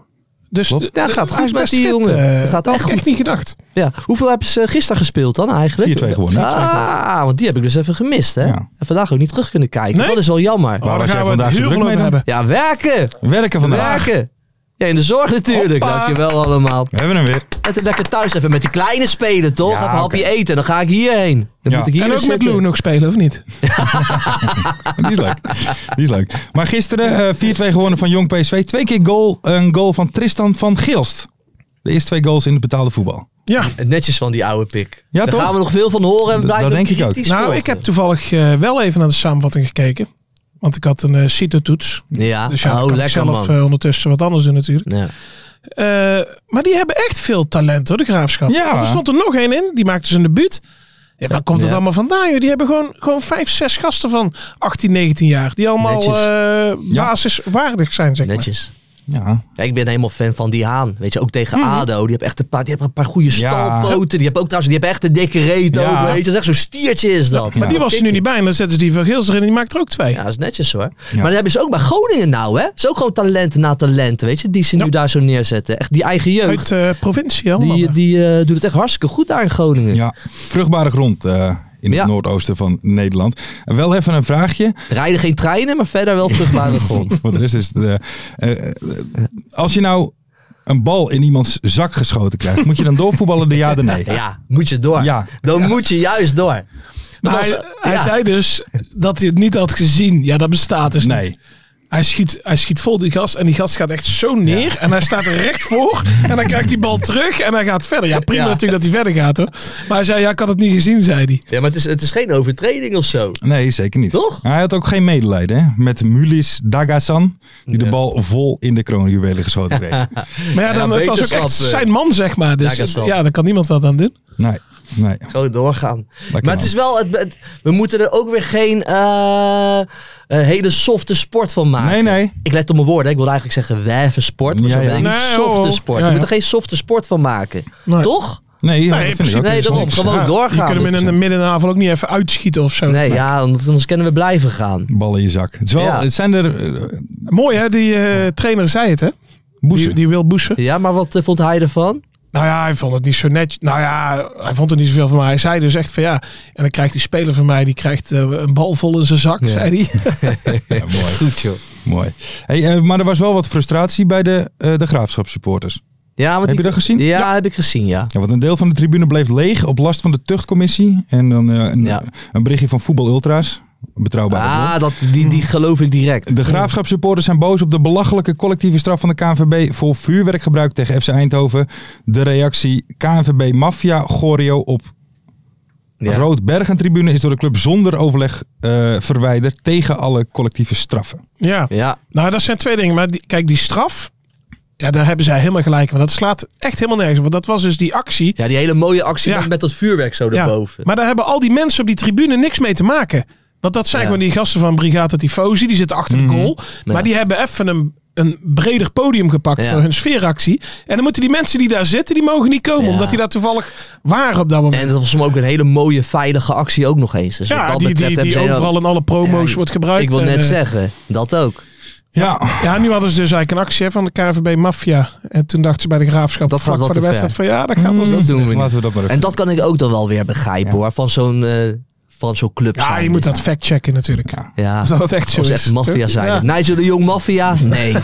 E: Dus
D: Klopt.
F: Ja,
E: d-
F: gaat
E: hij
F: goed
E: is
F: met
E: best
F: die
E: fit,
F: jongen.
E: eh,
F: Het gaat
E: dat
F: echt
E: had ik
F: goed.
E: echt niet gedacht.
F: Ja. Hoeveel hebben ze eh, gisteren gespeeld dan eigenlijk?
D: 4-2 gewonnen.
F: Ah, want die heb ik dus even gemist. Hè?
D: Ja.
F: En vandaag ook niet terug kunnen kijken.
E: Nee?
F: Dat is wel jammer.
D: was
E: Oh, daar
D: jij
E: gaan we het
D: vandaag zo
E: heel
D: druk
E: veel
D: mee
E: over
D: dan?
E: hebben.
F: Ja, werken.
D: Werken vandaag.
F: Werken. Ja, in de zorg natuurlijk.
E: Hoppa.
F: Dankjewel allemaal.
D: We hebben hem weer.
F: En toen lekker thuis even met die kleine spelen, toch?
D: Ja,
F: of een hapje eten. Dan ga ik hierheen. Dan
D: Ja.
F: moet ik hier
E: en ook
F: weer
E: met
F: zitten.
E: Lou nog spelen, of niet?
D: Die is leuk. Die is leuk. Maar gisteren eh 4-2 gewonnen van Jong PSV. Twee keer goal, een goal van Tristan van Gilst. De eerste twee goals in het betaalde voetbal.
E: Ja.
F: Netjes van die oude pik.
D: Ja,
F: Daar
D: toch?
F: gaan we nog veel van horen. En we
D: Dat-
F: blijven
D: dat denk ik ook.
F: kritisch
E: Nou,
F: volgen.
E: ik heb toevallig eh, wel even naar de samenvatting gekeken. Want ik had een eh, CITO-toets.
F: Ja,
E: Dus ja, dan
F: oh,
E: kan ik
F: lekker
E: zelf
F: man.
E: eh, ondertussen wat anders doen natuurlijk.
F: Ja.
E: Eh, maar die hebben echt veel talent hoor, de Graafschap.
D: Ja.
E: Want Er stond er nog één in, die maakte zijn debuut. Ja, waar komt het
F: Ja.
E: allemaal vandaan? Joh? Die hebben gewoon, gewoon vijf, zes gasten van 18, 19 jaar. Die allemaal
F: Netjes.
E: eh, basiswaardig zijn, zeg maar.
F: Netjes.
D: Ja.
F: Ja, ik ben helemaal fan van die Haan. Weet je, ook tegen
E: Mhm.
F: ADO. Die hebben echt een paar, die hebben een paar goede
D: Ja.
F: stalpoten. Die hebben ook trouwens, die hebben echt een dikke reet
D: Ja.
F: ook. Weet je, dat is echt zo'n stiertje is dat.
E: Maar die was er nu niet bij en dan zetten ze die van Gils erin en die maakt er ook twee.
F: Ja, dat is netjes hoor. Maar dat hebben ze ook bij Groningen nou, hè? Het is ook gewoon talent na talent, weet je? Die ze nu
E: Ja.
F: daar zo neerzetten. Echt die eigen jeugd.
E: Uit eh, provincie allemaal.
F: Die, die eh, doet het echt hartstikke goed daar in Groningen.
D: ja. Vruchtbare grond eh, in
F: Ja.
D: het noordoosten van Nederland. En wel even een vraagje.
F: Er rijden geen treinen, maar verder wel vruchtbare grond.
D: Voor de rest is het... eh, eh, eh, als je nou een bal in iemands zak geschoten krijgt, moet je dan doorvoetballen de ja of nee?
F: Ja, moet je door.
D: Ja.
F: Dan moet je juist door.
E: Maar
F: Want
E: hij,
F: als-
E: hij
F: ja.
E: zei dus dat hij het niet had gezien. Ja, dat bestaat dus niet.
D: Nee.
E: Hij schiet, hij schiet vol die gast en die gast gaat echt zo neer. En hij staat er recht voor en dan krijgt die bal terug en hij gaat verder. Ja, prima
F: Ja.
E: natuurlijk dat hij verder gaat hoor. Maar hij zei, ja, ik had het niet gezien, zei hij.
F: Ja, maar het is, het is geen overtreding of zo.
D: Nee, zeker niet.
F: Toch?
D: Hij had ook geen medelijden hè? met Mulis Dagasan, die de bal vol in de kroonjuwelen geschoten kreeg.
E: Maar ja,
F: Ja,
E: dan, het was ook echt
F: wetenschap, eh,
E: zijn man, zeg maar. Dus
F: ja, dat
E: ja,
F: zal.
E: daar kan niemand wat aan doen.
D: nee, nee. dat
F: Gewoon doorgaan.
D: kan
F: Maar het is wel, het, het- we moeten er ook weer geen eh, eh, hele softe sport van maken.
D: Nee, nee.
F: Ik let op mijn woorden. hè. Ik wilde eigenlijk zeggen wijve sport. Maar
D: Ja,
F: zo
D: ja.
F: ben ik niet.
E: Nee,
F: softe
E: oh,
F: sport.
E: ja,
F: we
E: ja.
F: moeten er geen softe sport van maken.
E: Nee.
F: Toch?
D: Nee, ja,
E: Nee,
D: dat
E: in
D: vind ik ook.
F: nee,
D: Er is
F: daarom.
D: niks.
F: Gewoon
E: Ja,
F: doorgaan. dus.
E: Je kunt hem in de midden in de avond ook niet even uitschieten of zo.
F: Nee, ja, want anders kunnen we blijven gaan.
D: Bal in je zak. Het, is wel,
F: Ja.
D: het zijn er... eh,
E: Mooi hè, die eh, trainer zei het hè. Die,
D: boezen.
E: die wil boesen.
F: Ja, maar wat eh, vond hij ervan?
E: Nou ja, hij vond het niet zo net. Nou ja, hij vond er niet zoveel van. Maar hij zei dus echt van ja. En dan krijgt die speler van mij, die krijgt eh, een bal vol in zijn zak, zei hij.
D: Ja, mooi.
F: Goed joh.
D: mooi. Hey, eh, maar er was wel wat frustratie bij de, eh de graafschapsupporters.
F: Ja, want
D: Heb je dat gezien?
F: Ja, heb ik gezien, ja.
D: Ja, want een deel van de tribune bleef leeg op last van de tuchtcommissie. En dan eh, een,
F: Ja.
D: een berichtje van Voetbal Ultra's. Betrouwbare bron.
F: Ah, dat, die, die geloof ik direct.
D: De Graafschapsupporters zijn boos op de belachelijke collectieve straf van de KNVB voor vuurwerkgebruik tegen FC Eindhoven. De reactie KNVB Mafia Gorio op
F: Ja.
D: Roodbergentribune is door de club zonder overleg eh, verwijderd tegen alle collectieve straffen.
E: Ja.
F: Ja,
E: Nou, dat zijn twee dingen. Maar die, kijk, die straf. Ja, daar hebben zij helemaal gelijk. Want dat slaat echt helemaal nergens. op. Want dat was dus die actie.
F: ja, die hele mooie actie
E: Ja.
F: met, met dat vuurwerk zo
E: Ja,
F: erboven.
E: Maar daar hebben al die mensen op die tribune niks mee te maken. Want dat zijn
F: Ja. Mhm.
E: gewoon die gasten van Brigade Tifosi. Die zitten achter de goal.
F: Ja.
E: Maar die hebben even een, een breder podium gepakt
F: Ja.
E: voor hun sfeeractie. En dan moeten die mensen die daar zitten, die mogen niet komen.
F: Ja.
E: Omdat die daar toevallig waren op dat moment.
F: En dat was hem ook een hele mooie, veilige actie ook nog eens. Dus wat
E: ja,
F: dat
E: die,
F: betreft
E: die,
F: hebben
E: die
F: ze heel-
E: overal in alle
F: Ja,
E: promo's
F: die-
E: wordt gebruikt.
F: Ik wil
E: En,
F: net
E: eh,
F: zeggen, dat ook.
D: Ja,
E: Ja, nu hadden ze dus eigenlijk een actie hè, van de KVB Mafia. En toen dachten ze bij de graafschap
F: Dat
E: vlak
F: gaat
E: voor
F: wel
E: de
F: te
E: wedstrijd van ja, dat gaat ons
F: dat doen we niet.
D: laten we dat maar even.
F: En dat kan ik ook dan wel weer begrijpen hoor, van zo'n eh, van zo'n club
E: Ja,
F: zijn.
E: je moet dat factchecken natuurlijk.
F: Ja,
E: Of dat het echt zo
F: dat is
E: is.
F: echt maffia
E: toch?
F: zijn.
E: Ja.
F: Nigel de Jong maffia? Nee.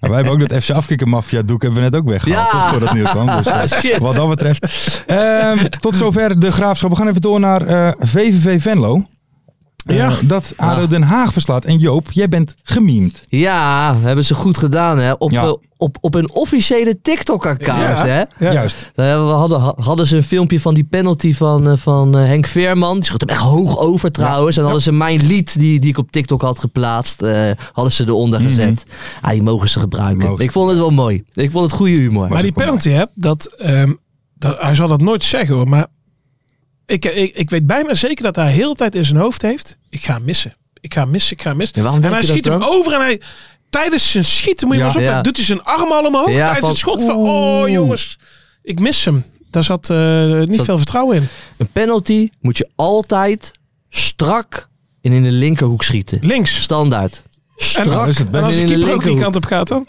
D: Maar wij hebben ook dat FC Afkikken Mafia doek hebben we net ook weggehaald.
F: Ja. Ah,
D: toch, Voordat het nieuw kwam. Dus, eh,
F: Shit.
D: wat dat betreft. Ehm, tot zover de graafschap. We gaan even door naar eh, VVV Venlo. Eh,
E: Ja.
D: Dat ADO
F: Ja. Ah.
D: Den Haag verslaat. En Joop, jij bent gemiemd.
F: Ja, hebben ze goed gedaan hè. Op,
D: Ja.
F: eh, op, op een officiële TikTok-account
E: Ja.
F: hè.
D: Juist.
F: Eh, we hadden, ha- hadden ze een filmpje van die penalty van, eh, van eh, Henk Veerman. Die schoot hem echt hoog over trouwens. En hadden ze mijn lied die, die ik op TikTok had geplaatst, eh, hadden ze eronder
E: Mhm.
F: gezet. Ah, die mogen ze gebruiken.
D: Mogen ze
F: ik vond het wel mooi. Ik vond het goede humor.
E: Maar die
D: ook wel
E: penalty, hè, dat, ehm, dat, hij zal dat nooit zeggen hoor. Maar ik, ik, ik weet bijna zeker dat hij heel de tijd in zijn hoofd heeft. Ik ga hem missen. Ik ga hem missen. Ik ga hem missen.
F: Ja, waarom
E: en hij
F: denk je
E: schiet
F: dat
E: hem
F: dan?
E: over en hij... Tijdens zijn schieten, moet je
D: Ja.
E: maar eens opletten,
F: Ja.
E: doet hij zijn arm al omhoog.
F: Ja,
E: tijdens
F: van,
E: het schot van,
F: oeh.
E: oh jongens, ik mis hem. Daar zat eh, niet
F: Zat-
E: veel vertrouwen in.
F: Een penalty moet je altijd strak en in de linkerhoek schieten.
E: Links.
F: Standaard. Strak
D: dan is het
E: En
F: en
E: als de
F: in de
E: keeper ook die
F: linkerhoek.
E: kant op gaat dan?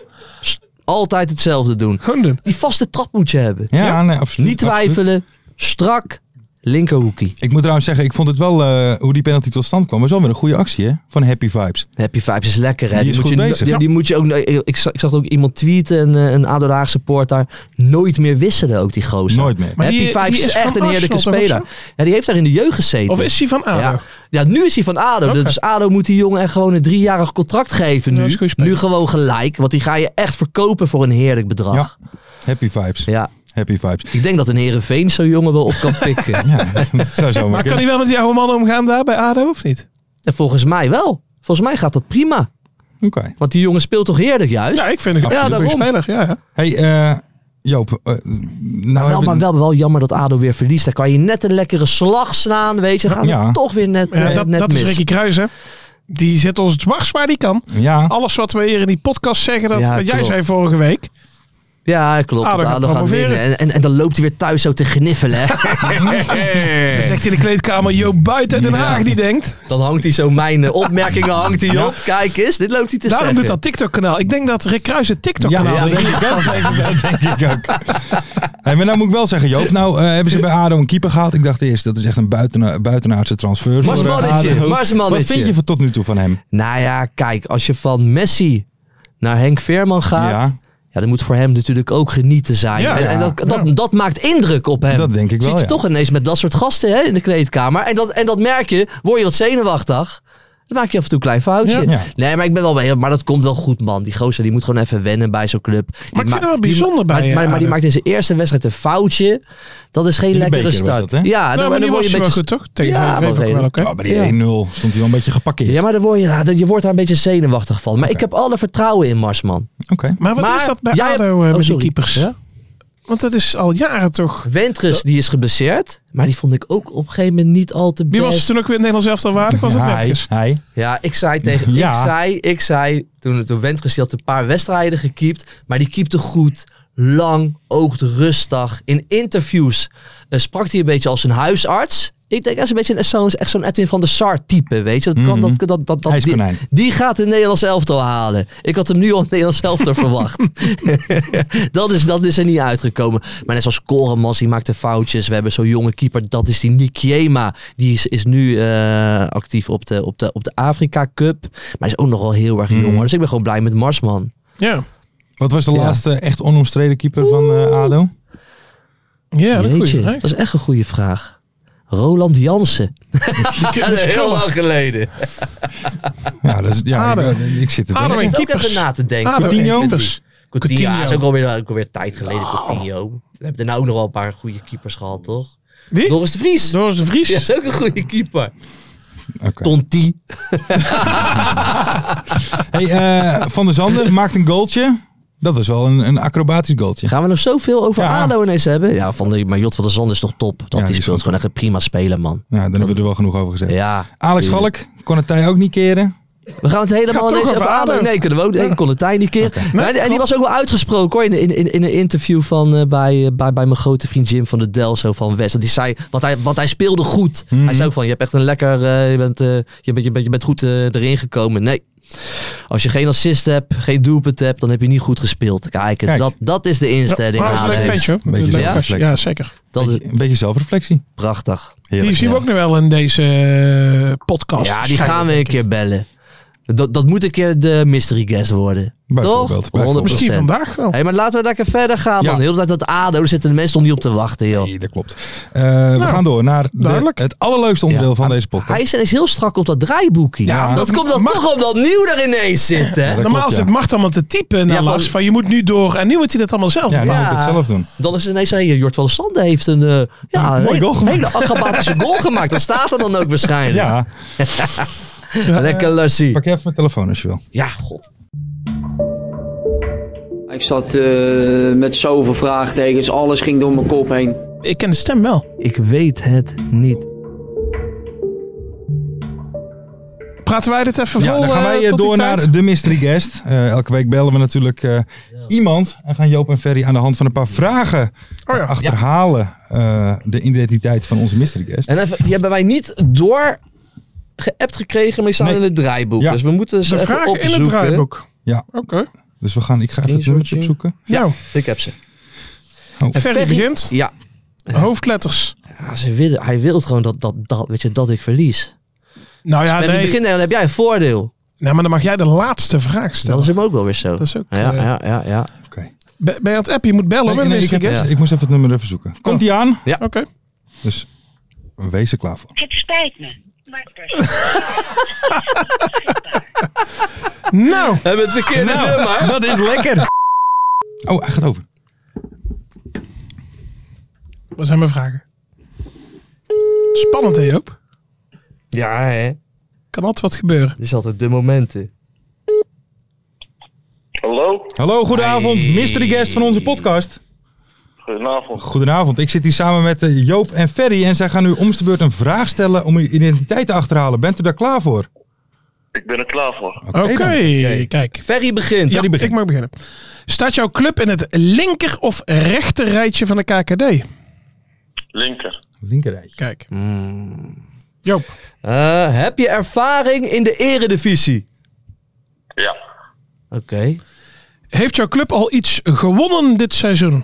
F: Altijd hetzelfde doen.
E: Gewoon doen.
F: Die vaste trap moet je hebben.
D: Ja, nee, absoluut.
F: Niet
D: absoluut.
F: twijfelen. Strak. Linkerhoekie.
D: Ik moet trouwens zeggen, ik vond het wel eh, hoe die penalty tot stand kwam. Was wel weer een goede actie hè? van Happy Vibes.
F: Happy Vibes is lekker, hè?
D: Die is
F: moet
D: goed
F: je,
D: bezig.
F: Die,
D: Ja.
F: die moet je ook. Ik zag, ik zag ook iemand tweeten, een, eh, een Ado Haag supporter. Nooit meer wisselen ook die gozer.
D: Nooit meer.
E: Maar
F: Happy
E: die-
F: Vibes
E: die
F: is,
E: is van
F: echt een heerlijke
E: Arsenal, toch,
F: speler. Ja, die heeft daar in de jeugd gezeten.
E: Of is hij van ADO?
F: ja. ja, nu is hij van ADO.
E: Oké.
F: Dus ADO moet die jongen echt gewoon een driejarig contract geven
E: Dat is
F: nu.
E: een goede speler.
F: Nu gewoon gelijk. Want die ga je echt verkopen voor een heerlijk bedrag.
D: Ja. Happy Vibes.
F: Ja.
D: Happy Vibes.
F: Ik denk dat een Herenveen zo'n jongen wel op kan pikken.
D: Ja, dat zou zo
E: Maar kan
D: kunnen.
E: hij wel met jouw man omgaan daar bij ADO of niet?
F: en volgens mij wel. Volgens mij gaat dat prima.
D: Oké.
F: Want die jongen speelt toch heerlijk juist?
E: Ja, ik vind hem
F: Ja,
E: een goede
F: daarom.
E: speler. Ja, ja.
D: Hey, eh, Joop. eh, nou
F: Wel,
D: hebben-
F: maar wel, wel jammer dat ADO weer verliest. Dan kan je net een lekkere slag slaan, weet je. Dan gaat
D: Ja.
F: het toch weer net,
E: Ja,
F: eh,
E: dat
F: net
E: dat
F: mis.
E: is Ricky Kruijs, hè? Die zet ons dwars waar die kan.
F: Oh,
D: Ja.
E: Alles wat we hier in die podcast zeggen, dat
F: Ja,
E: wat jij
F: klopt.
E: zei vorige week.
F: Ja, klopt.
E: ADO
F: ADO,
E: gaat
F: gaat
E: promoveren.
F: winnen. En, en, en dan loopt hij weer thuis zo te gniffelen. hè.
E: Dan zegt in de kleedkamer Joop buiten Den Haag, die denkt.
F: dan hangt hij zo mijn eh, opmerkingen hangt hij op. Kijk eens, dit loopt hij te
E: Daarom doet
F: zeggen.
E: dat TikTok-kanaal. Ik denk dat Rick Kruijs het
D: Ja,
E: TikTok-kanaal Nou,
D: dat
E: heeft.
D: denk ik ook. Dat denk ik ook. Hey, maar nou moet ik wel zeggen, Joop. Nou eh, hebben ze bij ADO een keeper gehaald. Ik dacht eerst, dat is echt een buitena buitenaardse transfer. voor, eh,
F: Marsmannetje,
D: ADO.
F: marsmannetje.
D: Wat vind je van tot nu toe van hem?
F: Nou ja, kijk, als je van Messi naar Henk Veerman gaat... Ja.
D: Ja,
F: dan moet voor hem natuurlijk ook genieten zijn.
E: Ja.
F: en en dat, dat,
E: Ja.
F: dat maakt indruk op hem.
D: dat denk ik wel.
F: Zit je
D: ja.
F: toch ineens met dat soort gasten hè, in de kleedkamer. En dat, en dat merk je, word je wat zenuwachtig. Dan maak je af en toe een klein foutje.
D: Ja. Ja.
F: Nee, maar ik ben wel bij Maar dat komt wel goed, man. Die gozer die moet gewoon even wennen bij zo'n club. Die
E: vind
F: ma-
E: het wel
F: die-
E: bijzonder bij,
F: maar,
E: eh,
F: maar, maar die
E: Ado.
F: maakt in zijn eerste wedstrijd een foutje. Dat is geen
D: de
F: lekkere
D: beker was
F: start.
D: dat, hè?
F: Ja,
E: Nou,
F: dan, dan
E: maar die
F: word
E: was
F: je
E: wel
F: een beetje...
E: goed, toch? Tegen
F: Ja,
E: VVV vond ik wel
F: wel
E: oké.
D: Oh, bij die 1-0 stond hij wel een beetje gepakkeerd.
F: Ja, maar dan word je, ja, dan- je wordt daar een beetje zenuwachtig van. Maar ik heb alle vertrouwen in Marsman.
D: Oké.
E: Maar wat
F: Maar
E: is dat bij
F: jij hebt-
E: ADO eh,
F: oh,
E: met die
F: sorry.
E: keepers?
F: Ja?
E: Want dat is al jaren toch...
F: Wentrus, die is geblesseerd. Maar die vond ik ook op een gegeven moment niet al te
E: Wie was
F: best.
E: er toen ook weer in het Nederlands elftal waardig? Was het
D: Ja, hij,
E: Werkers?
D: hij.
F: Ja, ik zei tegen.
D: Ja.
F: Ik zei, ik zei toen, toen Wentges die had een paar wedstrijden gekiept. Maar die keepte goed. Lang, oogt rustig. In interviews eh, sprak hij een beetje als een huisarts. Ik denk, dat is een beetje een, zo'n, echt zo'n Edwin van der Sar type, weet je. Dat kan,
D: Mhm.
F: dat, dat, dat, dat, die,
D: IJskonijn.
F: die gaat het Nederlands elftal halen. Ik had hem nu al het Nederlands elftal verwacht. dat, is, dat is er niet uitgekomen. Maar net zoals Koremans, die maakte foutjes. We hebben zo'n jonge keeper, dat is die Nikiema. Die is, is nu eh, actief op de, op, de, op de Afrika Cup. Maar is ook nogal heel erg jong. hoor. Dus ik ben gewoon blij met Marsman.
E: Ja.
D: Wat was de
F: Ja.
D: laatste echt onomstreden keeper van eh, ADO?
E: Ja, dat is een goede
F: Jeetje,
E: vraag.
F: dat is echt een goede vraag. Roland Jansen. Ah, Dat is heel lang geleden.
D: Ja, dat is, ja
E: ADO.
D: Ik, ik zit er
E: ADO
D: wel.
E: en
F: Ik zit ook
E: keepers.
F: even na te denken.
E: ADO en
D: Coutinho?
E: keepers.
F: Coutinho,
E: Coutinho.
F: ja, is ook alweer, eh, ook alweer tijd geleden,
D: Nou.
F: Coutinho. We hebben daarna ook nog wel een paar goede keepers gehad, toch?
E: Wie?
F: Doris de Vries.
E: Doris de Vries.
F: Die is ook een goede keeper.
D: Oké.
F: Tonti.
D: Hey, eh, van der Zanden maakt een goaltje. Dat was wel een, een acrobatisch goaltje.
F: Gaan we nog zoveel over
D: Ja.
F: ADO ineens hebben? Ja, van de, maar Jot van der Zand is toch top. Dat
D: Ja, die
F: die
D: is
F: speelt
D: goed.
F: gewoon echt een prima speler, man.
D: Ja, dan Nou, hebben we er wel genoeg over gezegd.
F: Ja.
D: Alex
F: tuurlijk.
D: Schalk kon het tij ook niet keren.
F: We gaan het helemaal
E: Gaat
F: ineens
E: toch
F: over
E: over
F: ADO.
E: ADO?
F: Nee, kunnen we ook. Nee, kon het tijd niet keer. Maar- en die was ook wel uitgesproken hoor. In, in, in, in een interview van, eh, bij, eh, bij, bij mijn grote vriend Jim van de Del. Zo van West. Want, die zei, want, hij, want hij speelde goed.
E: Mhm.
F: Hij zei ook van, je hebt echt een lekker... eh, je, bent, eh, je, bent, je, bent, je bent goed eh, erin gekomen. Nee. Als je geen assist hebt, geen doelpunt hebt, dan heb je niet goed gespeeld. Kijk,
D: Kijk.
F: dat, dat is de
E: Ja,
F: instelling.
E: maar dat is een
F: ADO.
E: leuk ventje hoor.
D: Een beetje
E: Leuk
D: zelf-
E: ventje.
D: reflex.
E: Ja, zeker.
F: dat is
D: Beetje- een beetje zelfreflectie.
F: prachtig.
E: Die zien we ook nog wel in deze eh, podcast.
F: Ja, die gaan we een keer bellen. Dat, dat moet een keer de mystery guest worden.
D: Bijvoorbeeld,
F: Toch?
D: bijvoorbeeld.
F: 100%.
E: Misschien vandaag wel.
F: Hé, maar laten we lekker verder gaan,
D: Ja.
F: man. Heel de tijd dat ADO zitten de mensen toch niet op te wachten, joh.
D: Nee, dat klopt. Eh, we gaan door naar de-
E: Nou, duidelijk.
D: het allerleukste onderdeel
F: Ja.
D: van deze podcast.
F: Hij is ineens heel strak op dat draaiboekje.
D: Ja,
F: dat
E: dat
F: komt dan
E: mag-
F: toch op dat nieuw er ineens zit, hè?
D: dat
E: Normaal
D: klopt,
E: is
D: ja.
E: het macht allemaal te typen naar
F: Ja,
E: Lars,
F: van-
E: van je moet nu door. En nu moet hij dat allemaal zelf
D: Ja, nou,
E: doen.
D: dan moet ik het
F: Ja.
D: zelf doen.
F: Dan is het ineens, hé, Jort van der Sande heeft een eh, ja,
D: mooi
F: een
D: goal
F: hele, hele acrobatische goal gemaakt. Dat staat er dan ook waarschijnlijk.
D: Ja,
F: Lekker Lassie.
D: pak je even mijn telefoon als je wil.
F: Ja, god.
G: Ik zat eh, met zoveel vraagtekens, alles ging door mijn kop heen.
E: Ik ken de stem wel.
F: Ik weet het niet.
E: Praten wij dit even
D: Ja,
E: vol
D: dan gaan
E: eh,
D: wij eh,
E: tot die
D: door
E: tijd?
D: naar de mystery guest. Eh, elke week bellen we natuurlijk eh, iemand. En gaan Joop en Ferry aan de hand van een paar vragen
E: Oh
D: achterhalen eh, de identiteit van onze mystery guest.
F: En even, die hebben wij niet door geappt gekregen, maar die staan
D: Nee.
F: in het draaiboek.
D: Ja.
F: Dus we moeten ze
E: De
F: even
E: vraag in
F: opzoeken.
E: het draaiboek.
D: Ja.
E: Oké.
D: Dus we gaan, ik ga even het
F: Eén
D: nummer
F: soortje.
D: opzoeken. Oh,
E: Nou,
F: Ik heb ze.
E: Ferry begint.
F: Ja.
E: Hoofdletters.
F: Ja, ze willen, hij wil gewoon dat, dat, dat, weet je, dat ik verlies.
E: Nou ja,
F: Maar in het
E: nee.
F: begin dan heb jij een voordeel.
E: Nou, maar dan mag jij de laatste vraag
F: Dat
E: stellen.
F: is hem ook wel weer zo.
E: Dat is ook,
F: ja,
E: eh,
F: ja, ja, ja.
D: Oké.
E: Ben ben je aan het appen? Je moet bellen.
D: Nee,
E: hoor,
D: nee, ik,
E: meneer
D: heb-
E: Guest.
D: ik moest even het nummer even zoeken. Komt die aan?
F: Ja.
E: Oké.
D: Dus wees er klaar voor.
H: Het spijt me, maar het personeel
E: Nou,
F: We hebben het verkeerde nummer.
D: dat is lekker. Oh, hij gaat over.
E: wat zijn mijn vragen? Spannend, hè Joop?
F: Ja, hè.
E: Kan altijd wat gebeuren.
F: Dit is altijd de momenten.
I: Hallo,
D: Hallo, goedenavond. Mystery guest van onze podcast.
I: goedenavond.
D: Goedenavond. Ik zit hier samen met eh, Joop en Ferry. En zij gaan u om de beurt een vraag stellen om uw identiteit te achterhalen. Bent u daar klaar voor?
I: Ik ben er klaar voor.
D: Oké.
E: Oké,
D: dan.
E: kijk.
F: Ferry begint.
E: Ja,
D: die begint.
E: ik mag beginnen. Staat jouw club in het linker of rechter rijtje van de KKD?
I: Linker.
D: Linkerrijtje.
E: Kijk.
D: Hmm.
E: Joop.
F: Eh, heb je ervaring in de eredivisie?
I: Ja,
F: Oké.
E: Heeft jouw club al iets gewonnen dit seizoen?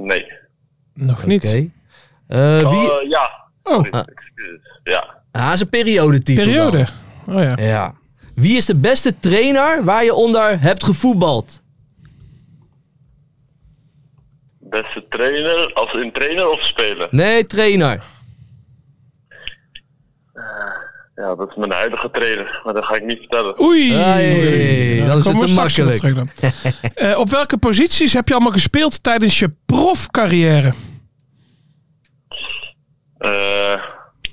I: nee.
E: Nog
F: Oké.
E: niet.
F: Eh, wie...
I: Oh, eh, ja.
E: Oh,
I: Excuses. Ja.
F: Ah, is een periodetitel dan.
E: periode. Oh ja.
F: Ja. Wie is de beste trainer waar je onder hebt gevoetbald?
I: Beste trainer, als een trainer of speler?
F: Nee, trainer.
I: Ja, dat is mijn huidige trainer, maar dat ga ik niet vertellen.
E: Oei,
F: Ai,
E: Nou,
F: dat is
E: komen
F: het
E: we
F: te
E: straks nog terug dan. Eh, op welke posities heb je allemaal gespeeld tijdens je profcarrière?
I: Eh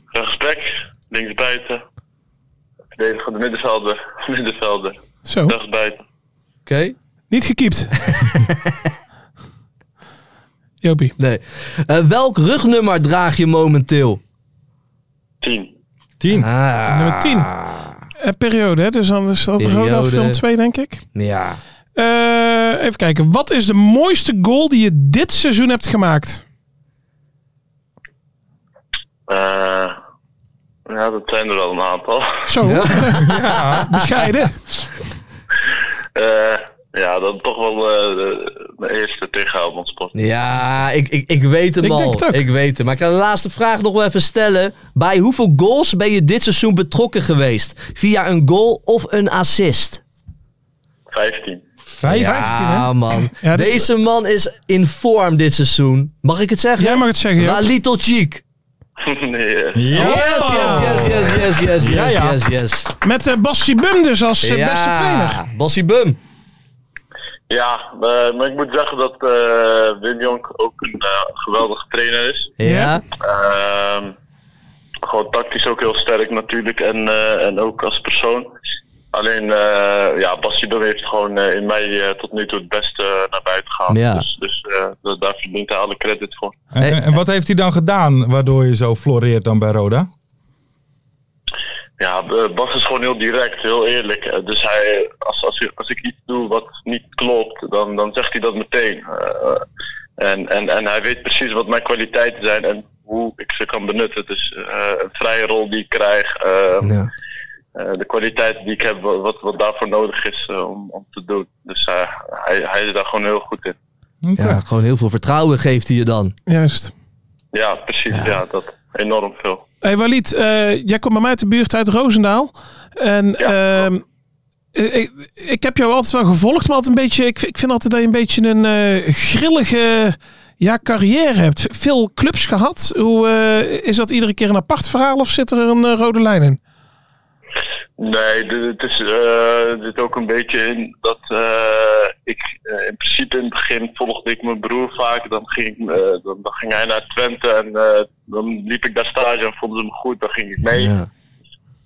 I: rechtsback, linksbuiten, verdedigende middenvelder, middenvelder,
F: Oh.
E: Zo,
I: rechtsbuiten.
E: niet gekiept. Jopie.
F: Nee. Eh, welk rugnummer draag je momenteel?
I: 10.
E: Ah.
F: Ah,
E: Nummer 10. Eh, periode, hè? dus dan is dat Roda
F: Periode.
E: film 2, denk ik.
F: Ja.
E: Eh, even kijken. Wat is de mooiste goal die je dit seizoen hebt gemaakt?
I: Eh ja, dat zijn er al een aantal.
E: Zo. Bescheiden.
I: Eh ja, dan toch wel eh, de, mijn eerste tegen Helmond Sport.
F: Ja, ik, ik, ik weet hem
E: Ik
F: al.
E: denk het ook.
F: Ik weet hem. Maar ik ga de laatste vraag nog wel even stellen. Bij hoeveel goals ben je dit seizoen betrokken geweest? Via een goal of een assist?
I: 15.
D: Vijf.
F: ja, man.
E: Ja, dit-
F: Deze man is in vorm dit seizoen. Mag ik het zeggen?
E: Jij mag het zeggen,
F: La
E: joh.
F: Little Cheek.
I: nee, eh,
F: Yes, yes, yes, yes, yes, yes, yes,
E: ja.
F: yes, yes.
E: Met eh Bassi Bum dus als eh, beste trainer.
F: Bassie Bum.
I: Ja, eh, maar ik moet zeggen dat eh Wim Jonk ook een eh, geweldige trainer is.
F: Ja.
E: Ja.
I: Ehm, gewoon tactisch ook heel sterk natuurlijk en, eh, en ook als persoon. Alleen, eh, ja, Bassi Bum heeft gewoon eh, in mij eh, tot nu toe het beste eh, naar buiten gehaald.
F: Ja.
I: Dus, dus eh, da- daar verdient hij alle credit voor.
D: En,
F: Hey.
D: en- en wat heeft hij dan gedaan waardoor je zo floreert dan bij Roda?
I: Ja, eh, Bas is gewoon heel direct, heel eerlijk. Eh, Dus hij, als, als, ik- als ik iets doe wat niet klopt, dan, dan zegt hij dat meteen. Eh, en, en, en hij weet precies wat mijn kwaliteiten zijn en hoe ik ze kan benutten. Dus eh, een vrije rol die ik krijg, eh,
F: Ja.
I: eh, de kwaliteiten die ik heb, wa- wat, wat daarvoor nodig is eh, om, om te doen. Dus eh, hij, hij is daar gewoon heel goed in.
D: Oké.
F: Ja, gewoon heel veel vertrouwen geeft hij je dan.
E: Juist.
I: Ja, precies. Ja, dat enorm veel.
E: Hey Walid, eh, jij komt bij mij uit de buurt uit Roosendaal. En
I: Ja,
E: ehm, eh, ik, ik heb jou altijd wel gevolgd, maar altijd een beetje, ik, vind- ik vind altijd dat je een beetje een eh, grillige ja, carrière hebt. Veel clubs gehad. Hoe, eh, is dat iedere keer een apart verhaal of zit er een eh, rode lijn in?
I: Nee, dit- het is, eh, dit ook een beetje in dat eh, ik eh, in principe in het begin volgde ik mijn broer vaak. Dan ging, ik, eh, dan, dan ging hij naar Twente en eh, dan liep ik daar stage en vonden ze me goed. Dan ging ik mee.
F: Ja.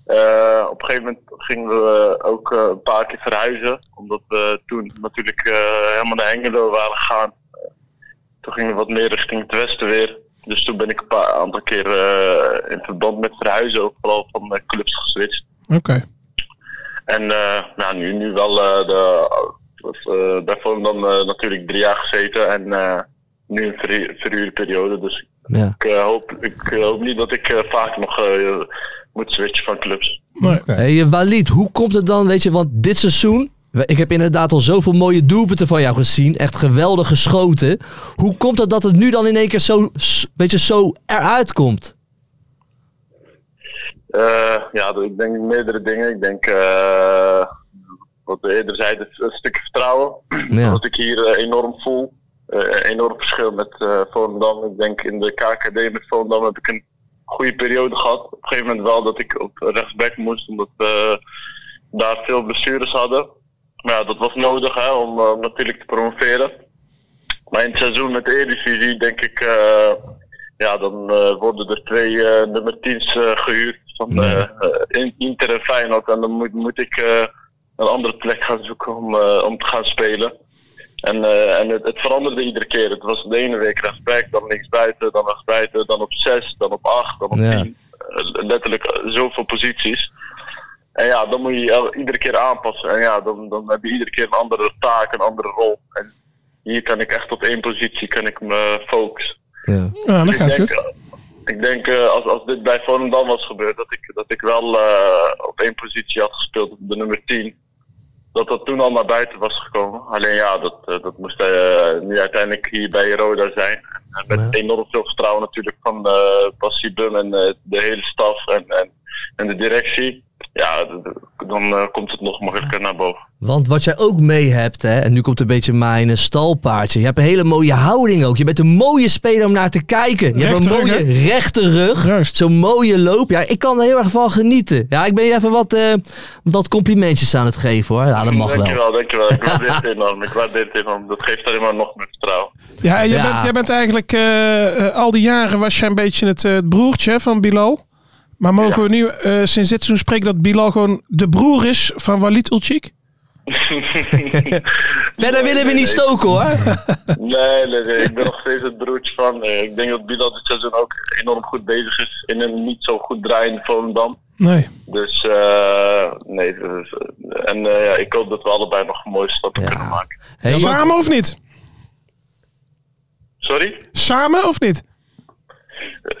I: Eh, op een gegeven moment gingen we ook eh, een paar keer verhuizen. Omdat we toen natuurlijk eh, helemaal naar Engelo waren gegaan. Toen gingen we wat meer richting het westen weer. Dus toen ben ik een paar aantal keer eh, in verband met verhuizen ook vooral van eh, clubs geswitcht.
E: Oké.
I: En eh, nou, nu, nu wel eh, de, eh, bij Volendam eh, natuurlijk drie jaar gezeten en eh, nu een verhu- verhuurperiode. Dus
F: Ja.
I: ik, eh, hoop, ik eh, hoop niet dat ik eh, vaak nog eh, moet switchen van clubs.
F: Hey, eh, Walid, hoe komt het dan, weet je, want dit seizoen, we- ik heb inderdaad al zoveel mooie doelpunten van jou gezien, echt geweldig geschoten. Hoe komt het dat het nu dan in één keer zo, s- weet je, zo eruit komt?
I: Eh, ja, ik denk meerdere dingen. Ik denk, eh, wat we eerder zeiden, een stuk vertrouwen.
F: Ja.
I: Wat ik hier eh, enorm voel. Eh, enorm verschil met eh Volendam. Ik denk in de KKD met Volendam heb ik een goede periode gehad. Op een gegeven moment wel dat ik op rechtsback moest, omdat we daar veel blessures hadden. Maar ja, dat was nodig hè, om eh, om natuurlijk te promoveren. Maar in het seizoen met de Eredivisie denk ik, eh, ja, dan eh, worden er twee eh, nummer 10's eh, gehuurd van eh, eh, In- Inter en Feyenoord. En dan moet, moet ik eh, een andere plek gaan zoeken om, eh, om te gaan spelen. En, eh, en het, het veranderde iedere keer. Het was de ene week rechtsback, dan linksbuiten, dan rechtsbuiten, dan op zes, dan op acht, dan op
F: Ja.
I: tien. Eh, letterlijk eh, zoveel posities. En ja, dan moet je je el- iedere keer aanpassen. En ja, dan, dan heb je iedere keer een andere taak, een andere rol. En hier kan ik echt op één positie kan ik me focussen.
F: Ja.
E: Nou, dat
I: Ik
E: gaat
I: denk,
E: goed.
I: eh, Ik denk eh, als, als dit bij Volendam was gebeurd, dat ik, dat ik wel eh, op één positie had gespeeld, op de nummer 10. Dat dat toen al naar buiten was gekomen. Alleen ja, dat, eh, dat moest eh, nu uiteindelijk hier bij Roda zijn. En met enorm veel eh, vertrouwen natuurlijk van eh Bas Siebum en eh, de hele staf en, en, en de directie. ja, d- d- dan eh, komt het nog makkelijker naar boven.
F: Want wat jij ook mee hebt, hè, en nu komt een beetje mijn eh, stalpaardje. Je hebt een hele mooie houding ook. Je bent een mooie speler om naar te kijken. Je hebt een
E: Rechterrug,
F: mooie rechte rug.
E: Juist.
F: Zo'n mooie loop. Ja, ik kan er heel erg van genieten. Ja, ik ben je even wat, eh, wat complimentjes aan het geven hoor. Ja, Ah, dat mag wel.
I: dankjewel, dankjewel. Ik waardeer het enorm. Ik waardeer het enorm. Dat geeft alleen maar nog meer vertrouwen.
E: Ja, en jij,
F: Ja.
E: Bent, jij bent eigenlijk eh, eh, al die jaren was jij een beetje het, eh, het broertje hè, van Bilal. Maar mogen we nu eh, sinds dit seizoen spreken dat Bilal gewoon de broer is van Walid Ulchik?
F: Verder willen we niet stoken hoor.
I: Nee, nee, nee, ik ben nog steeds het broertje van. eh, Ik denk dat Bilal dit seizoen ook enorm goed bezig is in een niet zo goed draaiende Volendam.
E: Nee.
I: Dus eh nee, dus, eh, en eh, ja, ik hoop dat we allebei nog mooie stappen
F: Ja.
I: kunnen maken.
F: Hey,
E: Samen of niet?
I: Sorry?
E: Samen of niet?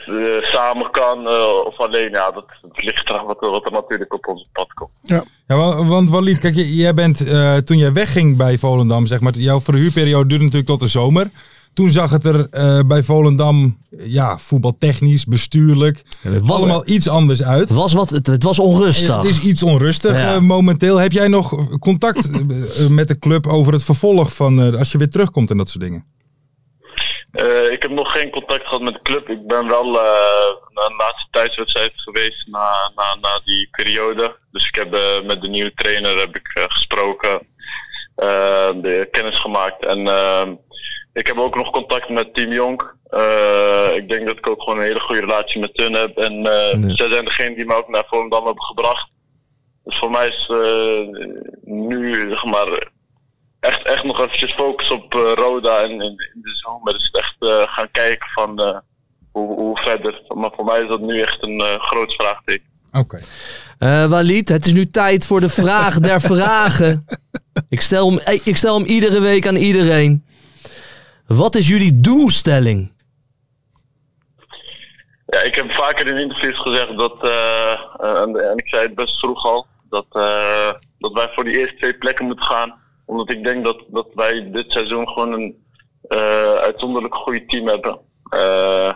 I: Eh, samen kan eh, of alleen, ja, dat, dat ligt eraan wat, wat er natuurlijk op ons pad komt.
D: Ja, wa- want Walid, kijk, j- jij bent, eh, toen jij wegging bij Volendam, zeg maar, jouw verhuurperiode duurde natuurlijk tot de zomer. Toen zag het er eh, bij Volendam, ja, voetbaltechnisch, bestuurlijk,
F: was-
D: allemaal iets anders uit.
F: Het was, wat, het, het was onrustig.
D: Het is iets onrustig
F: Ja.
D: eh, momenteel. Heb jij nog contact eh, met de club over het vervolg van eh, als je weer terugkomt en dat soort dingen?
I: Eh, ik heb nog geen contact gehad met de club. Ik ben wel eh naar een laatste thuiswedstrijd geweest na, na, na die periode. Dus ik heb eh, met de nieuwe trainer heb ik, eh, gesproken, eh, de kennis gemaakt. En eh, ik heb ook nog contact met Team Jong. Eh, ik denk dat ik ook gewoon een hele goede relatie met hun heb. En eh,
F: Nee.
I: zij zijn degene die me ook naar Volendam hebben gebracht. Dus voor mij is eh, nu, zeg maar, echt, echt nog eventjes focus op eh, Roda en in, in de zomer. Dus echt eh, gaan kijken van eh, hoe, hoe verder. Maar voor mij is dat nu echt een eh, groot vraagteken.
D: Oké.
F: Eh, Walid, het is nu tijd voor de vraag der vragen. Ik stel, hem, eh, ik stel hem iedere week aan iedereen. Wat is jullie doelstelling?
I: Ja, ik heb vaker in interviews gezegd dat, eh, eh, en, en ik zei het best vroeg al, dat, eh, dat wij voor die eerste twee plekken moeten gaan. Omdat ik denk dat, dat wij dit seizoen gewoon een eh, uitzonderlijk goede team hebben. Eh,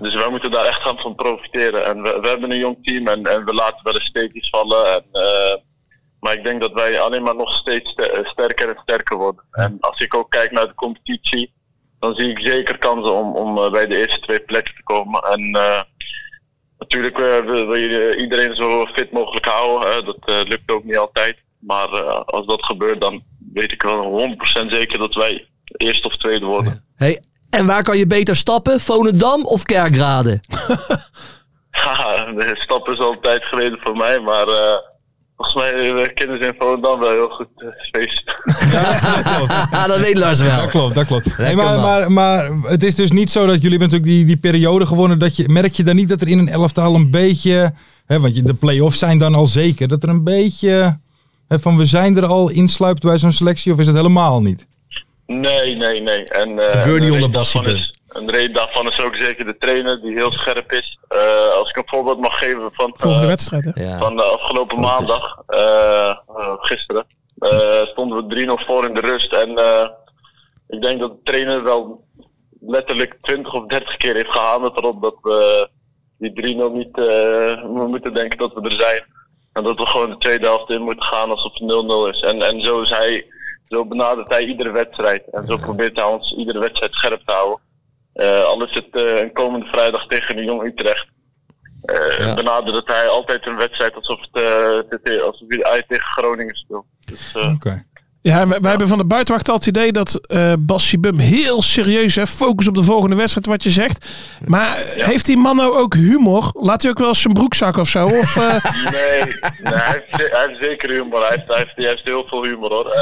I: Dus wij moeten daar echt gaan van profiteren. En we, we hebben een jong team en, en we laten wel eens steekjes vallen. En, eh, maar ik denk dat wij alleen maar nog steeds ste- eh, sterker en sterker worden. En als ik ook kijk naar de competitie, dan zie ik zeker kansen om, om eh, bij de eerste twee plekken te komen. En eh, natuurlijk eh, wil, wil je iedereen zo fit mogelijk houden. hè. Dat eh, lukt ook niet altijd. Maar eh, als dat gebeurt, dan weet ik wel 100% zeker dat wij eerste of tweede worden.
F: Hey, en waar kan je beter stappen? Volendam of Kerkrade?
I: Ja, de stap is al een tijd geleden voor mij, maar eh, volgens mij eh, kennen ze in Volendam wel heel goed eh, feest.
F: Haha, dat weet Lars wel.
D: Dat klopt, dat klopt. Hey, maar,
F: man.
D: maar, maar het is dus niet zo dat jullie hebben natuurlijk die, die periode gewonnen. Dat je, merk je dan niet dat er in een elftal een beetje, hè, want je, de play-offs zijn dan al zeker, dat er een beetje hè, van we zijn er al insluipt bij zo'n selectie of is het helemaal niet?
I: Nee, nee, nee. En, eh,
F: Gebeurt
I: een
F: niet
I: reden
F: onder
I: daarvan
F: Bassie
I: is- Een reden daarvan is ook zeker de trainer, die heel scherp is. Eh, als ik een voorbeeld mag geven van... eh,
E: Volgende wedstrijd, hè?
F: Ja.
I: Van de afgelopen maandag, eh, eh, gisteren, eh, stonden we 3-0 voor in de rust. En eh, ik denk dat de trainer wel letterlijk 20 of 30 keer heeft gehamerd erop dat we die 3-0 niet eh, we moeten denken dat we er zijn. En dat we gewoon de tweede helft in moeten gaan alsof het 0-0 is. En, en zo, is hij, zo benadert hij iedere wedstrijd. En zo probeert hij ons iedere wedstrijd scherp te houden. Eh, al is het eh, een komende vrijdag tegen de Jong Utrecht. Eh
F: Ja.
I: Benadert hij altijd een wedstrijd alsof, het, eh, het- alsof hij tegen Groningen speelt. Dus, eh,
D: Oké.
E: Ja, wij, wij hebben van de buitenwacht al het idee dat eh Bas Sibum heel serieus hè, focus op de volgende wedstrijd, wat je zegt. Maar eh, heeft die man nou ook humor? Laat hij ook wel eens zijn broekzak of zo? Of, eh,
I: Nee, nee hij, heeft, ze- hij heeft zeker humor. Hij heeft, hij heeft, hij heeft heel veel humor hoor. Eh,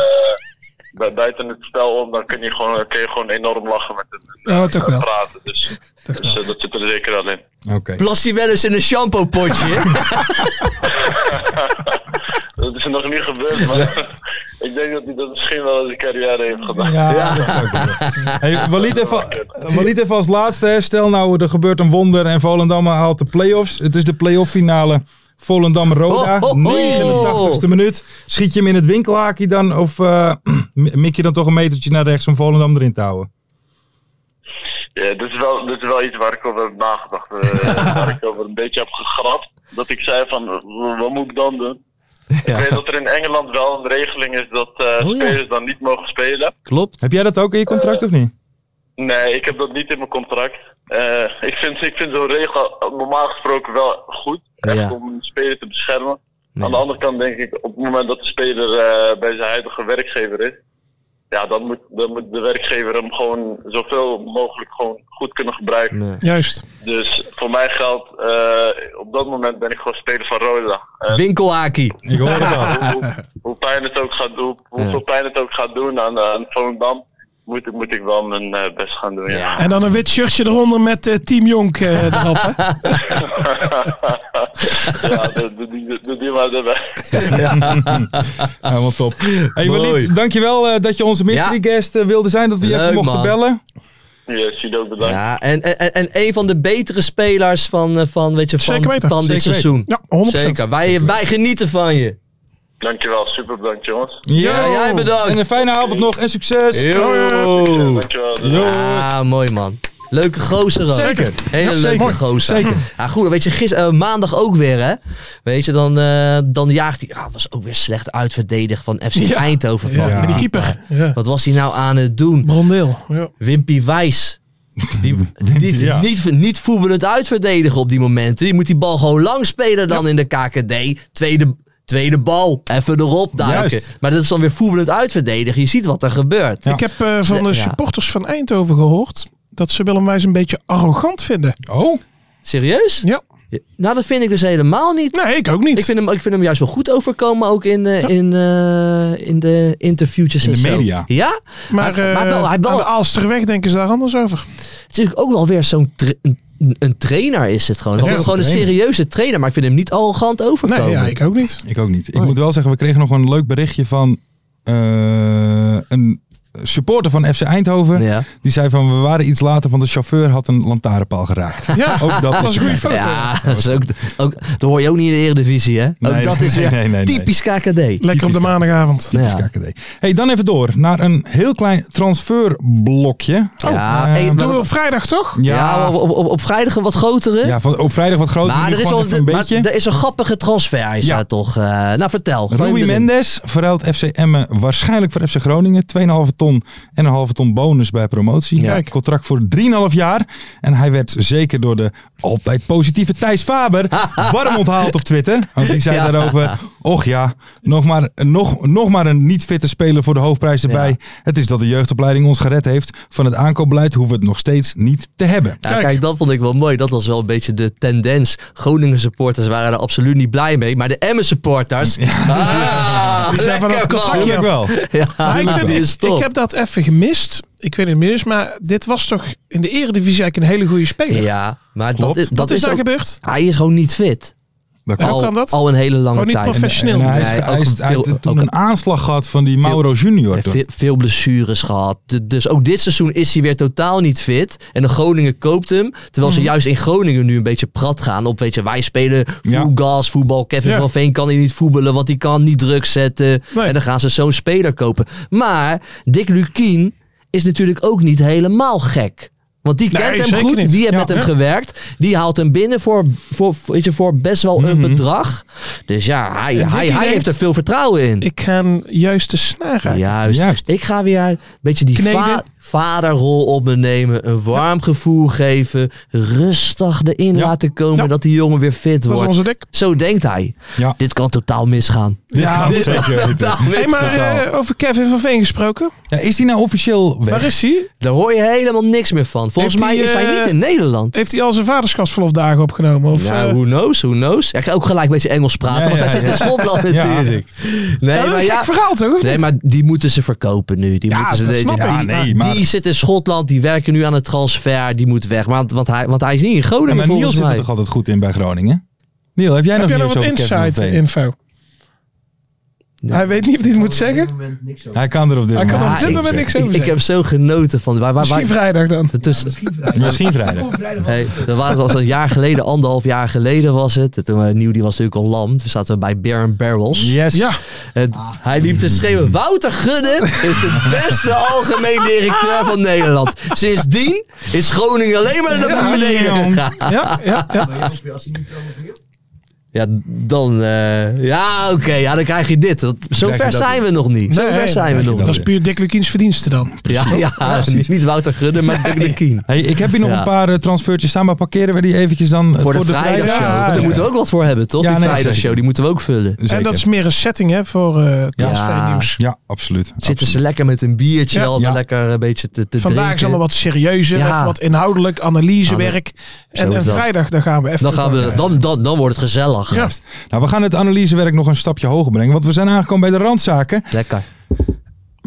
I: bu- buiten het spel om, dan kun je gewoon, kun je gewoon enorm lachen met hem. en,
E: Oh,
I: eh,
E: toch
I: en
E: wel.
I: praten. Dus, dus, eh, dat zit er zeker wel in.
D: Oké.
F: Plast hij wel eens in een shampoo potje?
I: Dat is nog niet gebeurd, maar ik denk dat hij dat misschien wel in zijn carrière heeft gedaan.
D: Ja, dat zou kunnen. Hey, Walid, even, Walid, even als laatste. hè. Stel nou, er gebeurt een wonder en Volendam haalt de play-offs. Het is de play-off finale. Volendam-Roda,
F: Ho, ho, ho.
D: 89ste minuut. Schiet je hem in het winkelhaakje dan? Of eh, mik je dan toch een metertje naar rechts om Volendam erin te houden?
I: Ja, dit is, wel, dit is wel iets waar ik over heb nagedacht. eh, waar ik over een beetje heb gegrapt. dat ik zei van, w- wat moet ik dan doen? Ik weet
D: Ja.
I: dat er in Engeland wel een regeling is dat eh,
F: Oh, ja.
I: spelers dan niet mogen spelen.
F: Klopt.
D: Heb jij dat ook in je contract of niet?
I: Nee, ik heb dat niet in mijn contract. Eh, ik vind, ik vind zo'n regel eh, normaal gesproken wel goed. Echt
F: Ja.
I: om een speler te beschermen. Aan de andere kant denk ik, op het moment dat de speler eh, bij zijn huidige werkgever is, ja, dan moet, dan moet de werkgever hem gewoon zoveel mogelijk gewoon goed kunnen gebruiken.
F: Nee.
E: Juist.
I: Dus voor mij geldt, eh, op dat moment ben ik gewoon speler van Roda. En
F: Winkelhaki.
D: Ik hoor het al.
I: hoe, hoe- hoe pijn het ook gaat doen, hoeveel pijn het ook gaat doen aan, aan Volendam, moet, ik- moet ik wel mijn eh, best gaan doen. ja.
E: En dan een wit shirtje eronder met eh, Team Jonk eh, erop. hè?
I: ja, doe, doe, die- doe die maar erbij.
D: Helemaal top. Hey,
F: Mooi.
D: Walid, dankjewel eh, dat je onze mystery guest eh, wilde zijn. Dat we je even
F: Leuk,
D: mochten
F: man.
D: bellen.
I: Yes, jullie ook bedankt.
F: Ja, en, en, en een van de betere spelers van, eh, van, weet je, van,
E: Zeker weten,
F: van dit
D: zeker
F: seizoen.
E: Ja, 100%.
F: Zeker. Wij, wij genieten van je.
I: Dankjewel, super bedankt jongens.
F: Ja, jij bedankt.
D: En een fijne avond nog en succes.
I: Ja,
F: Yo.
I: dankjewel.
F: Ja, Ah, mooi man. Leuke gozer ook.
D: Zeker.
F: Hele
D: Ja,
F: leuke
D: zeker.
F: gozer.
D: Zeker.
F: Ja, goed, weet je, gisteren maandag ook weer, hè. Weet je, dan, eh, dan jaagt hij... Ah, was ook weer slecht uitverdedigd van FC
E: Ja.
F: Eindhoven. Van.
E: Ja, met die keeper. Ja.
F: Wat was hij nou aan het doen?
E: Brondeel. Ja.
F: Wimpy Wijs. Die, niet,
D: ja.
F: niet, niet voetballend uitverdedigen op die momenten. Die moet die bal gewoon lang spelen dan in de KKD. Tweede, tweede bal. Even erop duiken.
D: Juist.
F: Maar dat is dan weer voetballend uitverdedigen. Je ziet wat er gebeurt.
E: Ik heb eh, van de
F: Ja.
E: supporters van Eindhoven gehoord dat ze Willem Wijs een beetje arrogant vinden.
D: Oh,
F: Serieus?
E: Ja.
F: Nou, dat vind ik dus helemaal niet.
E: Nee, ik ook niet.
F: Ik vind, hem, ik vind hem juist wel goed overkomen, ook in, eh, in, eh, in de interviewtjes
D: In
F: en
D: de
F: zo.
D: media.
F: Ja,
E: maar
F: hij-
E: eh,
F: maar wel- hij wel-
E: aan de Aalsterweg denken ze daar anders over.
F: het is natuurlijk ook wel weer zo'n tra- een, een trainer is het gewoon.
E: Ja,
F: Want het is gewoon een
D: trainer.
F: serieuze trainer, maar ik vind hem niet arrogant overkomen.
E: Nee, ja, ik ook niet.
D: ik ook niet. Ik
F: Oh.
D: moet wel zeggen, we kregen nog een leuk berichtje van eh, een supporter van FC Eindhoven.
F: Ja.
D: Die zei van, we waren iets later, want de chauffeur had een lantaarnpaal geraakt.
E: Ja,
F: Oh,
D: Ook dat
E: dat is
D: is
E: een goede foto.
F: Ja, dat, is ook, ook, dat hoor je ook niet in de Eredivisie, hè? Ook
D: Nee,
F: dat is weer
D: nee, nee, nee.
F: typisch KKD.
E: Lekker op de maandagavond.
D: Typisch
F: Ja.
D: KKD. Hey, dan even door naar een heel klein transferblokje.
F: Ja,
D: eh,
F: hey,
D: ja,
E: Doen we op vrijdag toch?
F: Ja, op, op, op, op vrijdag een wat grotere.
D: ja, van, op vrijdag wat groter.
F: maar
D: nu
F: er is,
D: gewoon
F: wel,
D: even een
F: maar
D: beetje.
F: er is een grappige transfer, is
D: Ja.
F: daar toch? eh, nou, vertel. gooi hem
D: Rui
F: erin.
D: Mendes verruilt FC Emmen waarschijnlijk voor FC Groningen. 2,5 ton en een halve ton bonus bij promotie.
F: Ja.
D: Kijk, contract voor 3,5 jaar. En hij werd zeker door de altijd positieve Thijs Faber warm onthaald op Twitter. Want die zei
F: Ja.
D: daarover, och ja, nog maar, nog, nog maar een niet-fitte speler voor de hoofdprijs erbij.
F: Ja.
D: Het is dat de jeugdopleiding ons gered heeft. Van het aankoopbeleid hoeven we het nog steeds niet te hebben.
F: Ja, kijk. dat vond ik wel mooi. Dat was wel een beetje de tendens. Groningen supporters waren er absoluut niet blij mee. Maar de Emmen supporters. Ja,
E: Die zijn van het contractje
D: Tuurlijk wel.
F: Ja,
E: Maar Nou, ik,
F: die
E: vind-
F: is top.
E: ik heb dat even gemist. Ik weet niet meer, eens, maar dit was toch in de eredivisie eigenlijk een hele goede speler.
F: ja, maar dat
D: Klopt.
F: is,
E: Wat
F: dat
E: is,
F: is
E: daar
F: ook-
E: gebeurd?
F: Hij is gewoon niet fit.
D: Dat
E: Ja,
D: kan.
E: hoe
F: Al,
E: kan dat?
F: al een hele lange
E: Gewoon niet
F: tijd.
E: professioneel.
D: En hij is
F: Nee, ook
D: geëist- hij
F: veel-
D: heeft toen
F: ook-
D: een aanslag gehad van die Mauro
F: En
D: Junior. toch?
F: ve- veel blessures gehad. De- dus ook dit seizoen is hij weer totaal niet fit. En de Groningen koopt hem. Terwijl ze juist in Groningen nu een beetje prat gaan op. Weet je, wij spelen full
D: Ja.
F: gas voetbal. Kevin
E: Ja.
F: van Veen kan hier niet voetballen, want die kan niet druk zetten.
E: Nee.
F: En dan gaan ze zo'n speler kopen. Maar Dick Lukien is natuurlijk ook niet helemaal gek. Want die
E: Nee,
F: kent hem
E: zeker
F: goed,
E: niet.
F: die heeft
E: Ja,
F: met hem
E: ja.
F: gewerkt. Die haalt hem binnen voor, voor, weet je, voor best wel een bedrag. Dus ja, hij,
E: Mhm. En
F: hij,
E: Dickie
F: hij heeft
E: denkt-
F: er veel vertrouwen in.
E: Ik ga hem juist de snaar raken.
F: Juist.
D: Juist.
F: Ik ga weer een beetje die
E: Kneden.
F: va- vaderrol op me nemen. Een warm gevoel geven. Rustig erin
D: Ja.
F: laten komen
E: Ja.
F: dat die jongen weer fit
E: Dat is
F: wordt.
E: onze dik.
F: Zo denkt hij.
D: Ja.
F: Dit kan totaal misgaan.
D: Ja, dit zeker. weten.
E: Hey, maar eh, over Kevin van Veen gesproken.
D: Ja, is die nou officieel weg?
E: Waar is hij?
F: Daar hoor je helemaal niks meer van. Volgens
E: Heeft
F: mij
E: hij,
F: is hij
E: eh,
F: niet in Nederland.
E: Heeft hij al zijn vaderschapsverlofdagen opgenomen? Of,
F: Nou,
E: eh,
F: who knows, who knows. Hij gaat ook gelijk een beetje Engels praten,
D: Ja,
F: want hij
D: ja,
F: zit
D: ja.
F: in Schotland
D: Ja.
F: natuurlijk. Nee,
E: dat is
F: maar
E: een
F: ja,
E: gek verhaal toch? of
F: Nee,
E: niet?
F: maar die moeten ze verkopen nu. Die
E: Ja,
F: moeten ze
E: dat
F: die-
E: snap
F: die,
E: ik.
D: Ja,
F: die-
D: nee, maar-
F: die zit in Schotland, die werken nu aan het transfer, die moet weg. Want, want, hij, want hij is niet in
D: Ja,
F: Groningen
D: maar Niels
F: volgens
D: zit er
F: mij.
D: toch altijd goed in bij Groningen? Niel, heb jij
E: Heb
D: nog
E: jij
D: nieuws
E: nog wat
D: over Kevin van
E: inside
D: Veen?
E: info? Hij weet niet of hij het moet zeggen.
D: Hij kan er op dit
E: Hij kan
D: moment.
E: er op
F: Ja,
E: dit
F: ik-
E: moment niks over
F: Ik, ik
E: zeggen.
F: heb zo genoten van... Waar, waar,
E: Misschien
F: waar,
E: vrijdag dan.
F: tussen,
D: Misschien vrijdag.
F: Hey, dat waren was een jaar geleden, anderhalf jaar geleden was het. Toen we nieuw, die was natuurlijk al lam. Toen zaten we bij Bear and Barrels.
D: Yes.
E: Ja.
F: En hij liep te schreeuwen: Wouter Gudde is de beste algemeen directeur van Nederland. Sindsdien is Groningen alleen maar naar
D: Ja,
F: beneden
D: jong.
F: gegaan.
E: Ja, ja, ja.
F: Ja, dan... eh, ja, oké. ja, dan krijg je dit. Want zo
D: Krijg je
F: ver
D: dat
F: zijn we nog niet. zo
E: Nee,
F: ver
E: nee,
F: zijn we nog
E: Dat
F: niet.
E: is puur Dick Lukiens verdienste dan.
F: Ja, ja, niet, niet Wouter Gudde, maar Dick de Kien.
D: Hey, ik heb hier nog
F: Ja.
D: een paar eh, transfertjes staan, maar parkeren we die eventjes dan eh,
F: Voor de vrijdagshow.
D: vrijdag?
F: Want daar moeten we ook wat voor hebben, toch?
D: Ja,
F: die
D: nee,
F: vrijdagshow,
D: zeker.
F: die moeten we ook vullen.
D: Zeker.
E: En dat is meer een setting hè, voor eh transfernieuws.
D: Ja, absoluut.
F: Zitten ze lekker met een biertje,
E: Ja.
F: al
D: Ja.
F: lekker een beetje te, te
E: Vandaag is
F: drinken.
E: allemaal wat serieuzer,
F: Ja.
E: even wat inhoudelijk, analysewerk.
F: Zo
E: En,
F: is
E: en
F: dat.
E: vrijdag dan gaan we even...
F: Dan, gaan we,
E: gewoon, eh,
F: dan, dan, dan wordt het gezellig.
E: Ja.
D: Nou, we gaan het analysewerk nog een stapje hoger brengen, want we zijn aangekomen bij de randzaken.
F: Lekker.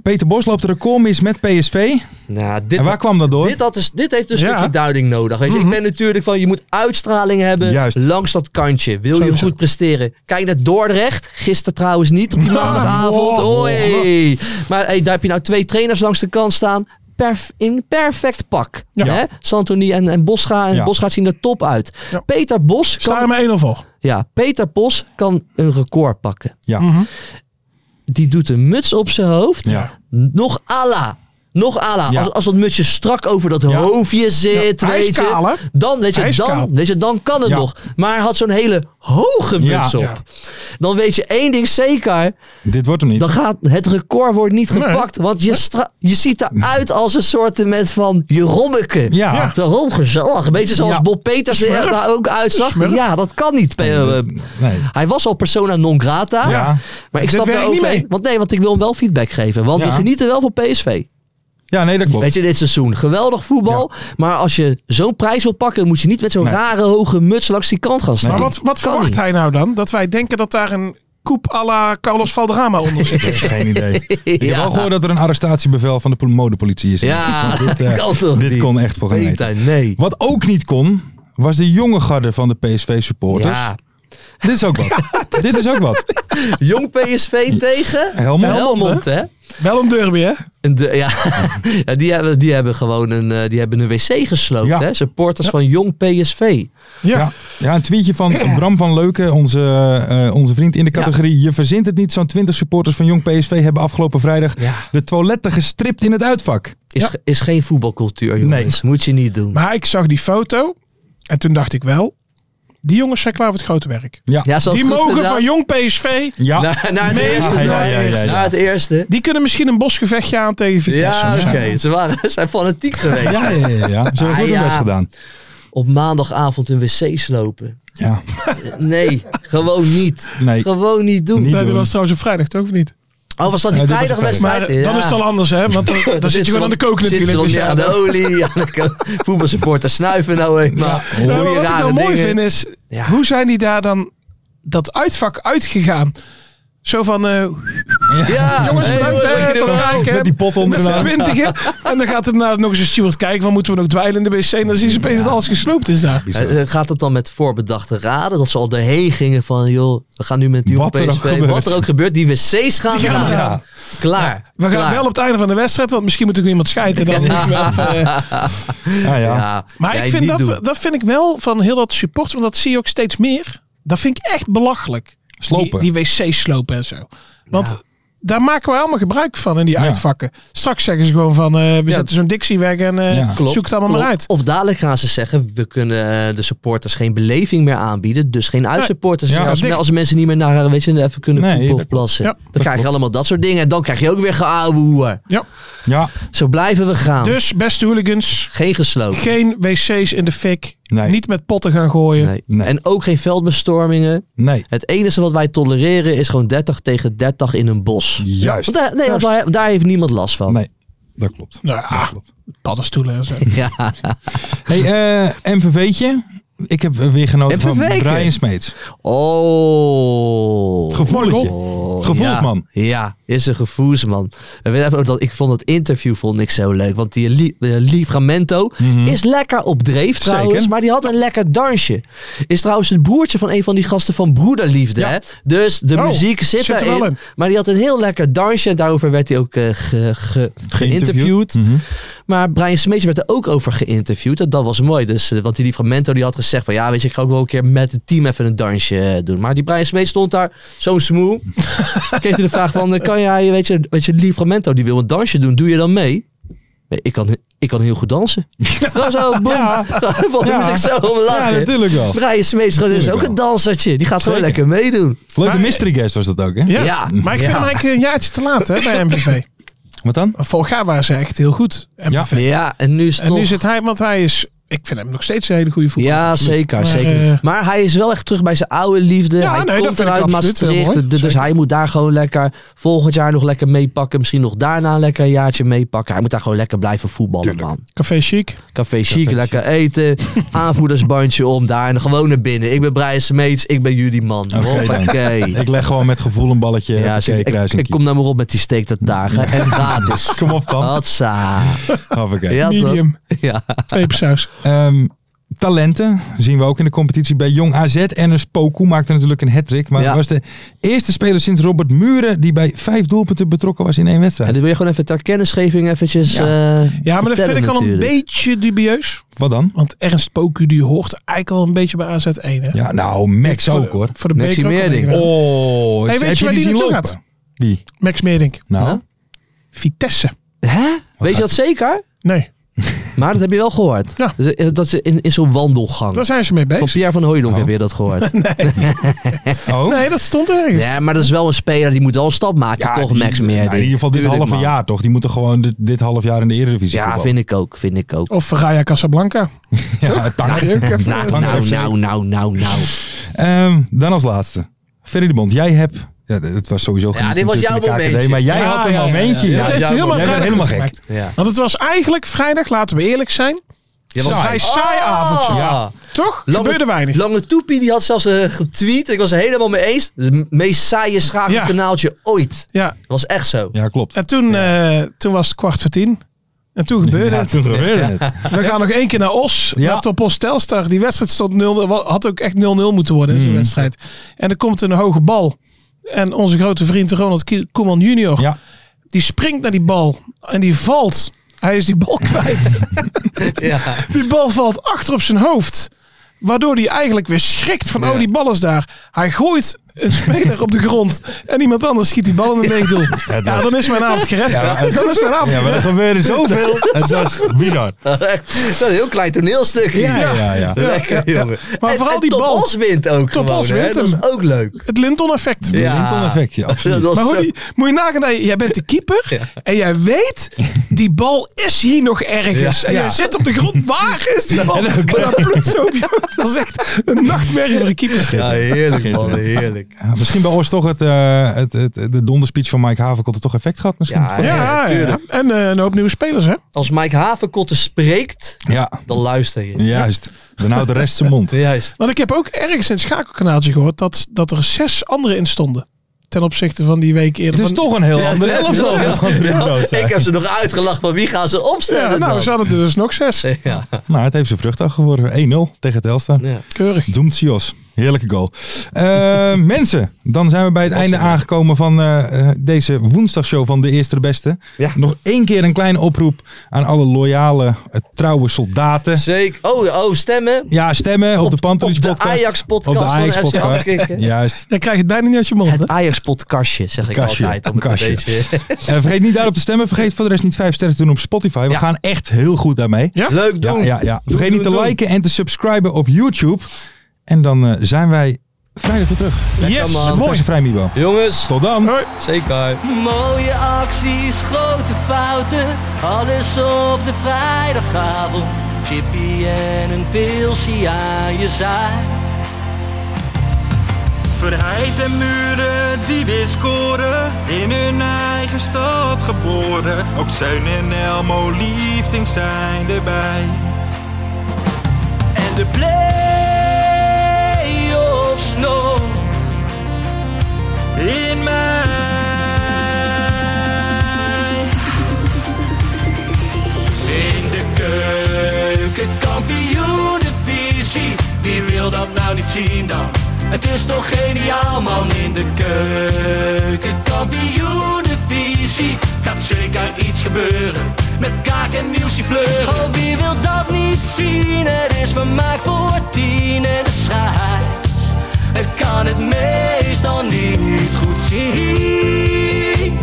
D: Peter Bos loopt de record mis met PSV.
F: Nou, dit,
D: En waar kwam dat door?
F: dit, had dus, dit heeft een
E: Ja. Mhm.
F: stukje duiding nodig. Weet je, Ik ben natuurlijk van, je moet uitstraling hebben
D: Juist.
F: langs dat kantje. Wil je
E: Sowieso.
F: goed presteren? Kijk naar Dordrecht. Gisteren trouwens niet, op die maandagavond. Hoi. Maar hey, daar heb je nou twee trainers langs de kant staan. Perf, in perfect pak. Hè? Santoni en, en Boscha. En
D: Ja.
F: Boscha zien er top uit.
E: Ja.
F: Peter Bos
E: Sta er
F: kan,
E: maar één of voor.
F: ja, Peter Bos kan een record pakken.
D: Ja.
E: Mhm.
F: die doet een muts op zijn hoofd.
D: Ja.
F: Nog ala. Nog ala.
D: Ja.
F: Als, als dat mutsje strak over dat
D: Ja.
F: hoofdje zit.
E: hij is
F: weet,
E: kaal, hè?
F: je, dan, weet,
E: Hij
F: je,
E: is kaal.
F: dan, weet je, dan kan het
D: Ja.
F: nog. Maar hij had zo'n hele hoge
D: Ja.
F: muts op.
E: Ja.
F: Dan weet je één ding zeker.
D: Dit wordt hem niet.
F: Dan gaat het record wordt niet gepakt. Want je, stra- je ziet eruit als een soort met van je rommeke.
D: Ja.
E: Ja.
F: Daarom gezellig. Een beetje zoals
D: Ja.
F: Bob Peters er
E: Smurf.
F: daar ook uitzag.
E: Smurf.
F: Ja, dat kan niet. Pe- eh,
D: Nee.
F: hij was al persona non grata.
E: Ah.
D: Ja.
F: Maar ik
E: Dit
F: snap
E: werkt
F: daar
E: niet
F: overheen.
E: mee.
F: Want nee, want ik wil hem wel feedback geven. Want
D: Ja.
F: we genieten wel van PSV.
D: ja, nee, dat klopt.
F: Weet je, dit seizoen. Geweldig voetbal. Maar als je zo'n prijs wil pakken, moet je niet met zo'n
D: Nee.
F: rare hoge muts langs die kant gaan staan.
E: Maar wat, wat
F: Kan
E: verwacht
F: niet.
E: hij nou dan? Dat wij denken dat daar een koep à la Carlos Valderrama onder zit.
D: Ik heb geen idee. Ik heb
F: Ja.
D: wel gehoord dat er een arrestatiebevel van de pol- modepolitie is.
F: Ja,
D: Dus dit, eh,
F: kan toch
D: dit
F: niet?
D: kon echt voor geen
F: Peter,
D: meter.
F: nee.
D: Wat ook niet kon, was de jonge garde van de PSV-supporters.
F: Ja.
D: Dit is ook wat. dit is ook wat.
F: Jong PSV tegen
D: Helmond,
F: hè?
E: Wel een derby, hè?
F: En de- ja, ja, die, hebben, die hebben gewoon een, eh, die hebben een wc gesloopt,
D: Ja.
F: hè? Supporters van Jong PSV.
E: Ja.
D: Ja. Ja, een tweetje van Bram van Leuken, onze, eh, onze vriend in de categorie. Je verzint het niet, zo'n 20 supporters van Jong PSV hebben afgelopen vrijdag
F: Ja.
D: de toiletten gestript in het uitvak.
F: Is, ge- is geen voetbalcultuur, jongens. Moet je niet doen.
E: Maar ik zag die foto en toen dacht ik wel, die jongens zijn klaar voor het grote werk.
F: ja, Nou. ze had
E: Die
F: het goed
E: mogen
F: gedaan.
E: van jong PSV,
D: Ja,
F: Naar, naar het
E: Nee,
F: eerste. naar
D: ja, ja, ja,
F: het
D: ja.
F: eerste. Naar het eerste.
E: die kunnen misschien een bosgevechtje aan tegen Vitesse.
F: Ja,
E: of
F: oké.
E: zo.
F: Ze waren, ze zijn fanatiek geweest.
D: ja, ja, ja, ja. Ze hebben
F: Ah,
D: goed hun
F: ja.
D: best gedaan.
F: Op maandagavond een wc slopen.
D: Ja,
F: Nee, gewoon niet.
D: nee.
F: Gewoon niet doen.
D: Niet
E: Nee,
D: doen.
E: dat was trouwens op vrijdag, toch? Of niet?
F: Oh, was dat die
D: Nee, dit was
F: vrijdagwedstrijd?
E: Maar dan is het al anders, hè? Want dan, dan zit je gewoon aan de kook natuurlijk.
F: Zit
E: Dus
F: je
E: ja,
F: aan de
E: dan-
F: olie, aan de ko- voetbalsupporters snuiven nou eenmaal. Doe
E: Ja, maar
F: je
E: wat ik
F: rare
E: nou mooi
F: dingen.
E: vind is,
F: Ja.
E: hoe zijn die daar dan dat uitvak uitgegaan? Zo van, eh,
F: Ja, hey, jongens,
E: jongens, bedankt hè,
F: lekker
E: voor
F: doen.
E: het kijken.
D: Met die pot onder
E: Met
D: de
E: z'n
D: naam.
E: twintigen. En dan gaat er daarna nog eens een steward kijken. Van moeten we nog dweilen in de wc? En dan zien ze opeens dat alles gesloopt is daar.
F: Eh, eh, Gaat het dan met voorbedachte raden? Dat ze al erheen gingen van, joh, we gaan nu met die
D: Wat er ook
F: PSV.
D: gebeurt.
F: Wat er ook gebeurt, die wc's gaan
E: Die gaan
F: eraan.
E: eraan.
F: Klaar.
E: We gaan
F: klaar.
E: wel op het einde van de wedstrijd. Want misschien moet ik weer iemand scheiden. Dan is het wel, eh,
D: Ja, ja.
F: Ja,
E: maar
F: nee,
E: ik vind
F: niet
E: dat,
F: doen.
E: we- dat vind ik wel van heel dat support. Want dat zie je ook steeds meer. Dat vind ik echt belachelijk.
D: Slopen.
E: Die, die wc's slopen en zo. Want... Daar maken we allemaal gebruik van in die
D: Ja.
E: uitvakken. Straks zeggen ze gewoon van, eh, we
F: Ja.
E: zetten zo'n dictie weg en eh,
D: Ja.
F: Klopt,
E: zoek het allemaal maar
F: klopt.
E: uit.
F: Of dadelijk gaan ze zeggen, we kunnen eh, de supporters geen beleving meer aanbieden. Dus geen uitsupporters.
D: Nee. Ja,
F: als,
E: dicht.
F: als mensen niet meer naar eh, weet je, even kunnen
D: Nee,
F: poepen
D: dat-
F: of plassen.
E: Ja,
F: dan krijg je allemaal dat soort dingen. En dan krijg je ook weer geouwehoer.
D: Ja,
F: Zo blijven we gaan.
E: Dus, beste hooligans,
F: geen gesloopt.
E: geen wc's in de fik.
D: Nee.
E: Niet met potten gaan gooien.
F: Nee.
D: Nee.
F: En ook geen veldbestormingen.
D: nee.
F: Het enige wat wij tolereren is gewoon 30 tegen 30 in een bos.
D: Juist.
F: Want daar, nee, want daar, daar heeft niemand last van.
D: Nee, dat klopt.
E: Nou ja, paddenstoelen en zo.
F: Ja.
D: Hey, eh MVV'tje. Ik heb eh, weer genoten van
F: MVV'tje.
D: Brian Smeets.
F: Oh.
D: Gevoeletje.
F: Oh,
D: Gevoelsman.
F: Ja, ja, is een gevoelsman. En weet even ook dat, ik vond het interview vond ik zo leuk. Want die li eh, Livramento is lekker op dreef trouwens.
D: Zeker.
F: Maar die had een lekker dansje. Is trouwens het broertje van een van die gasten van Broederliefde.
D: Ja.
F: Hè? Dus de
E: Oh,
F: muziek zit,
E: zit er
F: erin.
E: wel in.
F: Maar die had een heel lekker dansje. En daarover werd hij ook eh, ge- ge- geïnterviewd.
D: Mhm.
F: Maar Brian Smeets werd er ook over geïnterviewd. En dat was mooi. Dus, eh, want die Livramento die had gezegd van... Ja, weet je, ik ga ook wel een keer met het team even een dansje eh, doen. Maar die Brian Smeets stond daar zo smoel. kreeg hij de vraag van... eh, Kan jij, weet je, weet je Livramento die wil een dansje doen. Doe je dan mee? Ik kan, ik kan heel goed dansen. Gewoon zo, boem. Ja. Van,
D: Ja.
F: ik dus zo om
D: Ja,
F: lachen.
D: natuurlijk wel.
F: Brian Smeets gewoon is
D: Natuurlijk
F: ook een dansertje. Die gaat gewoon
D: Zeker.
F: lekker meedoen.
D: Leuke
E: Maar-
D: mystery guest was dat ook, hè?
E: Ja.
F: Ja.
E: Maar ik vind
F: Ja.
E: hem eigenlijk een jaartje te laat hè, bij MVV.
D: Wat dan?
E: Volga waren ze echt heel goed. MVV.
F: Ja, en nu is het
E: En
F: nog...
E: nu zit hij, want hij is, ik vind hem nog steeds een hele goede voetballer.
F: Ja,
E: Absoluut.
F: zeker.
E: Maar,
F: zeker.
E: eh,
F: maar hij is wel echt terug bij zijn oude liefde.
E: Ja,
F: hij
E: nee, dat
F: komt
E: vind ik
F: eruit
E: absoluut heel
F: Maastricht.
E: mooi.
F: d- Dus
E: Zeker.
F: hij moet daar gewoon lekker volgend jaar nog lekker meepakken. Misschien nog daarna lekker een jaartje meepakken. Hij moet daar gewoon lekker blijven voetballen, man.
E: Café Chic.
F: Café chic, lekker eten. Aanvoerdersbandje om daar. En gewoon naar binnen. Ik ben Brian Smeets. Ik ben jullie man.
D: Oké dan.
F: Hoppakee.
E: eh,
D: Ik leg gewoon met gevoel een balletje.
F: Ja,
D: Ja,
F: zeg, ik, ik kom nou maar op met die steek dat dagen. En gratis.
D: Kom op dan.
F: Hatsa.
D: Hoppakee.
F: Ja, toch?
E: Medium.
F: Ja.
E: Pepersaus.
D: Ehm, talenten zien we ook in de competitie bij Jong AZ. Ernest Poku maakte natuurlijk een hat-trick. Maar
F: Ja.
D: hij was de eerste speler sinds Robert Muren die bij vijf doelpunten betrokken was in één
F: En
D: wedstrijd.
F: dan wil je gewoon even ter kennisgeving eventjes...
E: Ja.
F: eh,
E: Ja, maar dat
F: vertellen
E: vind ik al een
F: natuurlijk.
E: beetje dubieus.
D: Wat dan?
E: Want Ernst Poku die hoort eigenlijk al een beetje bij AZ1. Hè?
D: Ja, nou, Max
E: Voor-
D: ook hoor.
E: Voor de
F: Maxi
E: beker ook al
F: Meerdink.
E: meegedaan.
D: Oh,
E: Hey,
D: heb
E: weet je waar
D: die
E: die
D: zien
E: naartoe
D: lopen?
E: gaat?
D: Wie?
E: Max Meerdink.
D: Nou,
F: Huh?
E: Vitesse.
F: Hè?
D: Oh,
F: Weet je dat zeker?
E: Nee,
F: Maar dat heb je wel gehoord.
E: Ja.
F: Dus, eh, dat ze in, in zo'n wandelgang.
E: daar zijn ze mee
F: Van
E: bezig.
F: Pierre van Hooijdonk
D: Oh.
F: heb je dat gehoord.
D: oh.
E: Nee, dat stond er ergens.
F: ja, maar dat is wel een speler die moet wel een stap maken.
D: Ja,
F: toch,
D: die-
F: Max
D: nou,
F: meer.
D: in ieder geval dit halve jaar toch? Die moeten gewoon dit, dit half jaar in de Eredivisie
F: Ja,
D: voetballen.
F: vind ik ook. Vind ik
D: Oh,
F: ook.
E: Of Raya Casablanca.
D: Ja, Tanger.
F: Nou,
D: Tanger
F: nou,
D: FC.
F: nou, nou, nou,
D: Oh,
F: nou.
D: Ehm, dan als laatste. Ferry de Bond, jij hebt... Ja, d- het was sowieso
F: Ja,
D: genieten
F: dit was
D: natuurlijk
F: jouw
D: in de KKD,
F: momentje.
D: Maar jij
E: Ja,
D: had een
E: ja, ja, ja.
D: momentje.
E: Ja,
D: Ja,
E: dat heeft
D: jij
E: hij helemaal
D: bent
E: vrijdag
D: helemaal gek.
E: gemaakt.
F: Ja.
E: Want het was eigenlijk vrijdag, laten we eerlijk zijn,
F: was
E: een vrij saai avondje. Toch? Gebeurde weinig.
F: Lange Toepie die had zelfs eh, getweet. Ik was er helemaal mee eens. Het meest saaie schakelkanaaltje ooit.
E: Ja,
F: Dat was echt zo.
D: Ja, klopt.
E: en toen, eh, toen was het kwart voor tien. En toen gebeurde
D: Ja,
E: het.
D: toen gebeurde het.
E: We gaan nog één keer naar Os.
D: Ja.
E: Laptop op Os Telstar. Die wedstrijd stond 0, had ook echt 0-0 moeten worden.
D: Hmm.
E: in Zo'n wedstrijd. En er komt een hoge bal. En onze grote vriend Ronald Kie- Koeman junior.
D: Ja.
E: Die springt naar die bal. En die valt. Hij is die bal kwijt.
F: Ja.
E: die bal valt achter op zijn hoofd. Waardoor hij eigenlijk weer schrikt van,
F: Ja.
E: oh die bal is daar. Hij gooit een speler op de grond. En iemand anders schiet die bal in de leegdoel. Ja, dan is mijn avond gered. dan is mijn avond
D: Ja, maar er
E: gered.
D: gebeurde zoveel. Het was bizar.
F: Echt, dat is een heel klein toneelstuk.
D: Ja, ja, ja.
F: Lekker, jongen.
E: Maar
F: En-
E: vooral
F: en
E: die
F: Top
E: bal.
F: Os wint ook
E: Top
F: gewoon,
E: Os
F: hè.
E: wint
F: Dat is
E: hem.
F: ook leuk.
E: Het Linton-effect.
F: Ja.
D: Linton-effectje, absoluut.
F: Dat was
E: Maar hoe
F: zo-
E: die, moet je nagaan, dat je- jij bent de keeper en jij weet, die bal is hier nog ergens.
D: Ja.
E: En jij
D: Ja.
E: zit op de grond, waar is die bal? Maar dat bloed zo op je hoofd. Dat is echt een nachtmerrie voor een keeper.
F: Ja, heerlijk man, heerlijk.
D: Ja, misschien bij ons toch het, eh, het, het, de donderspeech van Mike Haverkotte toch effect gehad misschien.
F: Ja,
E: Ja, ja. En eh, een hoop nieuwe spelers, hè?
F: Als Mike Havenkotte spreekt,
D: Ja,
F: dan luister je.
D: juist. Dan houdt de rest zijn mond.
F: Juist.
E: Want ik heb ook ergens in het schakelkanaaltje gehoord dat, dat er zes anderen in stonden. Ten opzichte van die week
D: Het
E: eerder.
D: is
E: van,
D: toch een heel ander
F: Ja,
D: elftal.
F: ja,
D: dan André
F: ja.
D: Brood zei.
F: Ik heb ze nog uitgelachen, maar wie gaan ze opstellen
E: ja, nou,
F: dan?
E: ze hadden er dus nog zes.
F: Ja.
D: Maar het heeft zijn vrucht afgeworven. 1-0 tegen Telstar.
F: Ja.
E: Keurig.
D: Doemt Sios. Heerlijke goal. Eh, mensen, dan zijn we bij het einde aangekomen van eh, eh, deze woensdagshow van De Eerste de Beste.
F: Ja.
D: Nog één keer een kleine oproep aan alle loyale, eh, trouwe soldaten.
F: Zeker. Oh, oh, stemmen.
D: Ja, stemmen op, de Pantelis
F: op de
D: podcast.
F: Ajax-podcast
D: Op de
F: van
D: Ajax
F: FC
D: podcast.
F: Afkikken.
D: Juist.
E: Dan krijg je het bijna niet uit je mond. hè?
F: Het Ajax-podcastje, zeg ik
D: Kastje,
F: altijd. Om het
D: kastje.
F: Een beetje...
D: En Eh, vergeet niet daarop te stemmen. Vergeet voor de rest niet vijf sterren te doen op Spotify. We
F: Ja.
D: gaan echt heel goed daarmee.
E: Ja?
F: Leuk
D: Ja,
F: doen.
D: ja, ja.
F: Doe,
D: Vergeet
F: doe,
D: niet te
F: doe.
D: liken en te subscriben op YouTube. En dan eh, zijn wij vrijdag weer terug.
E: Yes,
F: man.
D: De
E: mooi.
D: Verse Vrij Mibo.
F: Jongens,
D: Tot dan.
F: zeker.
B: Mooie acties, grote fouten, alles op de vrijdagavond. Chippy en een pilsie aan je zaai.
C: Verheid en muren die weer scoren, in hun eigen stad geboren. Ook Zijn en Elmo Liefding zijn erbij.
B: En de play-offs nog.
C: In mij.
B: In de keuken, kampioenenvisie. Wie wil dat nou niet zien dan? Het is toch geniaal man in de keuken, kampioenenvisie. Gaat zeker iets gebeuren met kaak en nieuwsie fleuren. Oh, wie wil dat niet zien? Het is vermaakt voor tien en de scheids. Ik kan het meestal niet goed zien.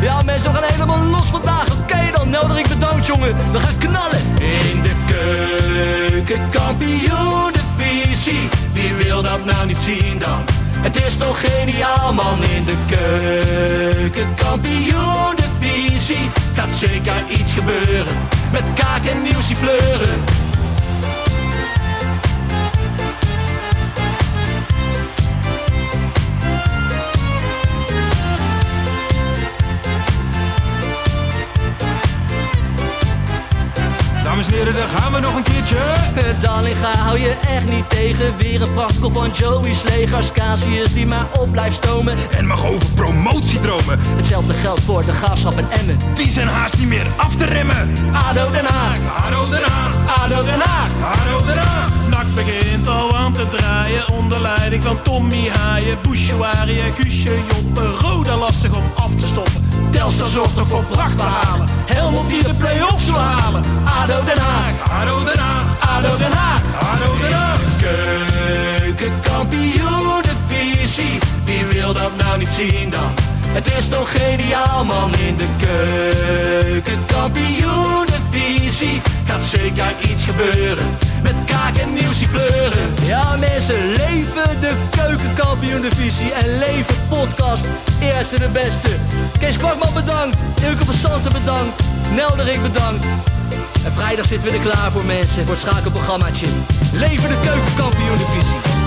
F: ja, mensen, we gaan helemaal los vandaag. Oké dan, nodig ik bedankt, jongen. We gaan knallen. In de keuken, kampioen, de visie. Wie wil dat nou niet zien dan? Het is toch geniaal, man. In de keuken, kampioen, de visie. Gaat zeker iets gebeuren. Met kaak en nieuwsie fleuren.
C: Dames en heren, daar gaan we nog een keertje.
F: Eh, Dallinga hou je echt niet tegen. Weer een prachtkel van Joey's legers. Casius die maar op blijft stomen.
C: En mag over promotiedromen.
F: Hetzelfde geldt voor de gaafschap en Emmen.
C: Die zijn haast niet meer af te remmen.
F: ADO Den Haag,
C: Haro Den Haag,
F: ADO Den Haag.
C: Haro Den Haag.
J: Nak begint al aan te draaien onder leiding van Tommy Haaien, Bouchouari en Guusje Joppen. Roda lastig om af te stoppen.
F: Telstar zorgt nog voor pracht te halen. Helmond die de play-offs wil halen. ADO Den Haag,
C: Haro Den Haag,
F: ADO Den Haag.
C: Haro Den Haag.
F: Keukenkampioenenvisie, wie wil dat nou niet zien dan? Het is toch geniaal man in de keukenkampioenenvisie Gaat zeker iets gebeuren, met kaak en nieuwsie kleuren Ja mensen, leven de keukenkampioenenvisie en leven podcast Eerste de beste Kees Kwakman bedankt, Ilke van Santen bedankt, Nelderik bedankt en vrijdag zitten we er klaar voor mensen, voor het schakelprogrammaatje. Leven de keukenkampioen divisie.